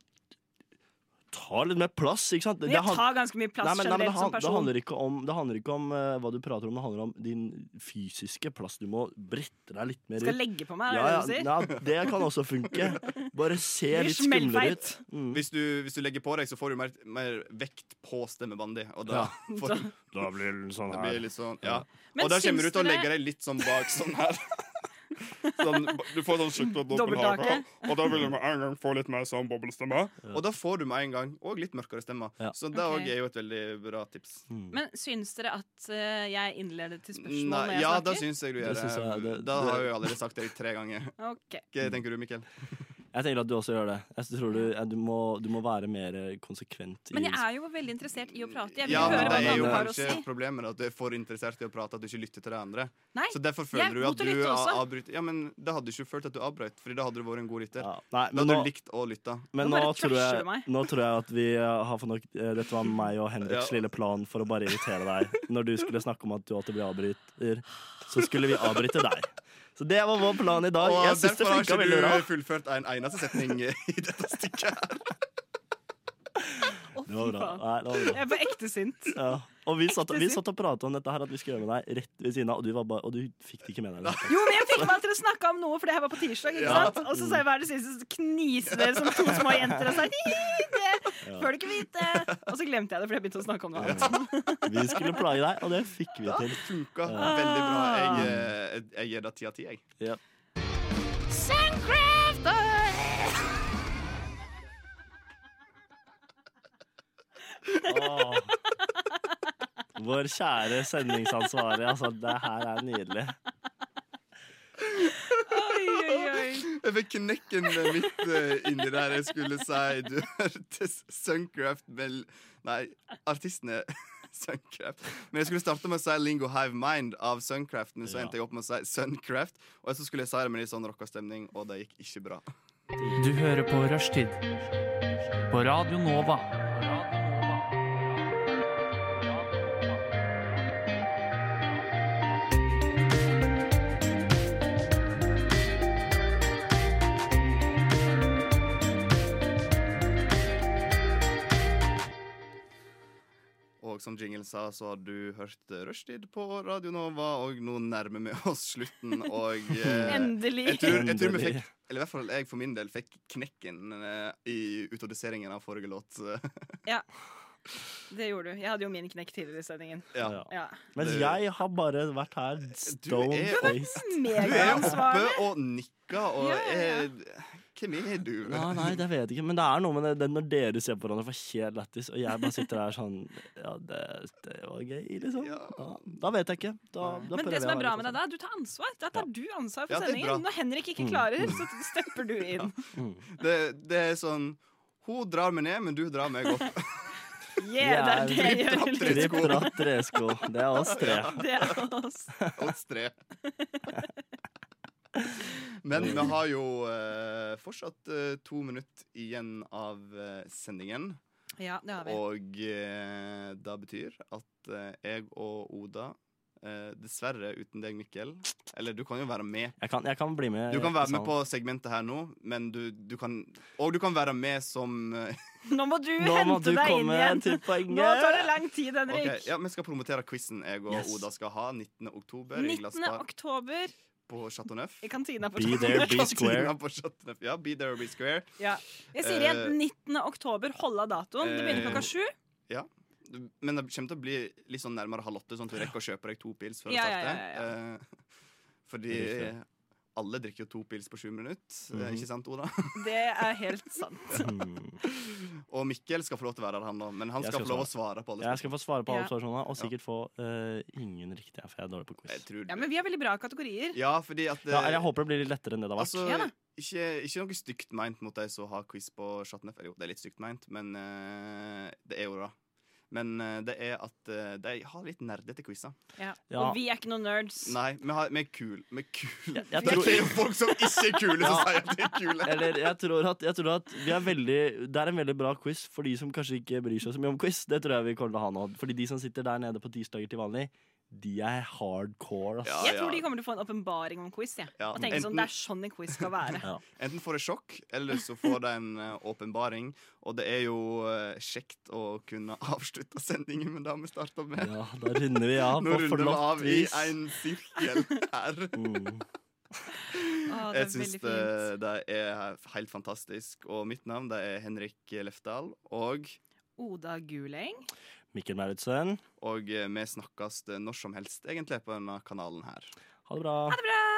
tar litt mer plass, ikke sant?
Men
Det
jeg
han-
tar ganske mye plass
Nei, men- nei, men
generelt
det,
som
han-
person.
Det handler ikke om, det handler ikke om eh, hva du prater om, det handler om din fysiske plass. Du må brette deg litt mer ut.
Skal legge på meg, er det
ja,
det du
ja,
sier?
ja, det kan også funke. Bare se
Blir
litt skumlere ut. Mm.
smellfeit.
Hvis, du, hvis du legger på deg, så får du mer, mer vekt på stemmebandet. Og da,
Ja.
får,
Da- Da blir det litt sånn
det
her.
blir litt sånn ja.
Men
Og da
syns
kommer du til å
dere-
legge deg litt sånn bak sånn her. Sånn, du får sånn skikkelig dobbel
Dobbelthake.
hake, og da vil du med en gang få litt mer sånn boblestemme. Og da får du med en gang òg litt mørkere stemmer. Så det
Ok.
òg er jo et veldig bra tips.
Mm.
Men syns dere at eh, jeg innleder til spørsmål
Nei,
når jeg
ja,
snakker?
da syns jeg du gjør
Det syns jeg,
det.
det-
Da
det-
har jeg jo allerede sagt det tre ganger.
Ok.
Hva tenker du, Mikkel?
Jeg tenker at du også gjør det. Jeg tror du, ja, du, må, du må være mer eh, konsekvent.
Men
i
jeg er jo veldig interessert i å prate. Jeg vil
Ja, men
høre
det
hva
er jo
andre har å
kanskje
si.
problemet at du er for interessert i å prate at du ikke lytter til det andre.
Nei,
så derfor
jeg er
føler du
god
at
til å
du
lytte også.
avbryter. Ja, men da hadde du ikke følt at du avbrøt, Fordi da hadde du vært en god lytter.
nei,
da
men
hadde
nå-
du likt å lytte.
Men
Nå
nå,
bare
tror
trasher du
jeg,
meg.
nå tror jeg at vi eh, har fått nok eh, Dette var meg og Henriks
Ja.
lille plan for å bare irritere deg. Når du skulle snakke om at du alltid blir avbryter, så skulle vi avbryte deg. Så det var vår plan i dag.
Og
Jeg syns det
derfor har
funka
ikke
veldig
du
bra.
fullført en eneste setning i dette stykket. her
Det var bra. Nei, det var bra.
Jeg er på ekte sint.
Ja. Og vi satt, vi
synd.
satt og prata om dette her at vi skulle gjøre med deg rett ved siden av, og du, var bare, og du fikk det ikke med deg.
Jo, men jeg fikk meg til å snakke om noe, for det her var på tirsdag. ikke
Ja.
sant? Og så sa jeg hva er det siste, så kniser dere som to små jenter og sa «Hi, det får du ikke vite. Og så glemte jeg det, for jeg begynte å snakke om noe annet.
Vi skulle plage deg, og det fikk vi til.
Funka veldig bra.
Ah.
Jeg, eh, jeg gir det ti av ti, jeg.
Ja. Åh. Vår kjære sendingsansvarlig, altså. Det her er nydelig.
Oi, oi, oi.
Jeg fikk knekken midt eh, inni der jeg skulle si du hørte Suncraft med Nei, artisten er Suncraft. Men jeg skulle starte med å si Lingo Hive Mind av Suncraft, men så
Ja.
endte jeg opp med å si Suncraft. Og så skulle jeg si det med litt sånn rockastemning, og det gikk ikke bra.
Du hører på Rushtid på Radio Nova.
Og som Jingle sa, så har du hørt Rushtid på Radio Nova, og nå nærmer vi oss slutten, og eh,
Endelig.
Jeg tror, jeg tror vi
Endelig.
fikk eller i hvert fall jeg for min del fikk knekken eh, i utodiseringen av forrige låt.
Ja, det gjorde du. Jeg hadde jo min knekk tidligere i sendingen.
ja.
Ja.
Mens
Det-
jeg har bare vært her stone
er-
faced.
Du er oppe
Megaansvarlig.
og nikker og
Ja, ja,
er Hvem er du?
Ja, nei, det vet jeg ikke, men det er noe med det, det når dere ser på hverandre for helt lættis, og jeg bare sitter her sånn Ja, det, det var gøy, liksom.
Ja.
Da, da vet jeg ikke. Da, da
Men
prøver
det
jeg å
som er
være
bra
litt sånn.
med deg da, du tar ansvar. Da tar du ansvar for
Ja, det er bra.
sendingen. Når Henrik ikke klarer, så stepper du inn.
Det, det er sånn Hun drar meg ned, men du drar meg opp.
Yeah, det er det jeg gjør. i livet.
Tripp, trapp, tresko. Det er oss tre.
Det er oss.
Oss tre. Men vi har jo eh, fortsatt eh, to minutter igjen av eh, sendingen.
Ja, det har vi.
Og eh, det betyr at eh, jeg og Oda eh, Dessverre uten deg, Mikkel. Eller du kan jo være med.
Jeg kan, jeg kan bli med.
Du kan
i
være med
salen.
på segmentet her nå, men du, du kan Og du kan være med som eh,
Nå må du
Nå må
hente
du
deg inn
komme
igjen.
til
Nå tar det
poenget.
lang tid, Henrik.
Ok, ja, Vi skal promotere quizen jeg og
Yes.
Oda skal ha 19. oktober i
19.
Glassbar
oktober
på Chateau Neuf.
i kantina på
Be there, be square.
Kantina på Chateau Neuf. Ja, be there or be square.
Ja. Jeg sier igjen 19. oktober. Hold av datoen. Det begynner
Eh,
klokka sju.
Men det kommer til å bli litt sånn nærmere halv åtte, sånn at du rekker å kjøpe deg to pils før
Ja,
du
ja,
starter.
ja,
Eh, fordi
Det er riktig. Mhm.
alle drikker jo to pils på sju minutter, eh, ikke sant, Oda?
Det er helt sant.
Hmm.
Og Mikkel skal få lov til å være der, han da. Men han
Jeg
skal,
skal
få lov å svare på alle
Jeg skal få svare på alle
Ja.
spørsmålene, og sikkert få eh, ingen riktige, for jeg er dårlig på
Jeg
quiz.
tror
Ja, Men vi har veldig bra kategorier.
Ja, fordi at
Ja,
eh,
jeg håper det blir litt lettere enn det det har vært.
Altså,
Ja da.
ikke, ikke noe stygt meint mot de som har quiz på Chateau Neuf. Jo, det er litt stygt meint, men eh, det er jo det. Men eh, det er at eh, de har litt nerdete quizer.
Ja.
Ja.
Og vi er ikke noen nerds.
Nei, vi, har, vi er kule. Vi er kule.
jeg
det
tror-
er jo folk som ikke er kule, som sier at de er kule.
Eller jeg tror at, jeg tror at vi er veldig, Det er en veldig bra quiz for de som kanskje ikke bryr seg så mye om quiz. Det tror jeg vi kommer til å ha nå Fordi de som sitter der nede på tirsdager til vanlig, de er hardcore, ass.
Jeg tror de kommer til å få en åpenbaring om quiz. jeg.
Ja,
Og tenke
enten-
sånn, Det er sånn en quiz skal være.
Enten får det sjokk, eller så får det en eh, åpenbaring. Og det er jo eh, kjekt å kunne avslutte sendingen med det vi starta med.
Ja, da runder vi av
Nå
på
runder vi
flott
av i
vis. Mm.
en sirkel her.
Å, det er
Jeg syns
veldig
det,
fint.
det er helt fantastisk. Og mitt navn det er Henrik Lefdal. Og
Oda Guleng.
Mikkel Mauritzen.
Og eh, vi snakkes eh, når som helst, egentlig, på denne kanalen her.
Ha det bra.
Ha det bra!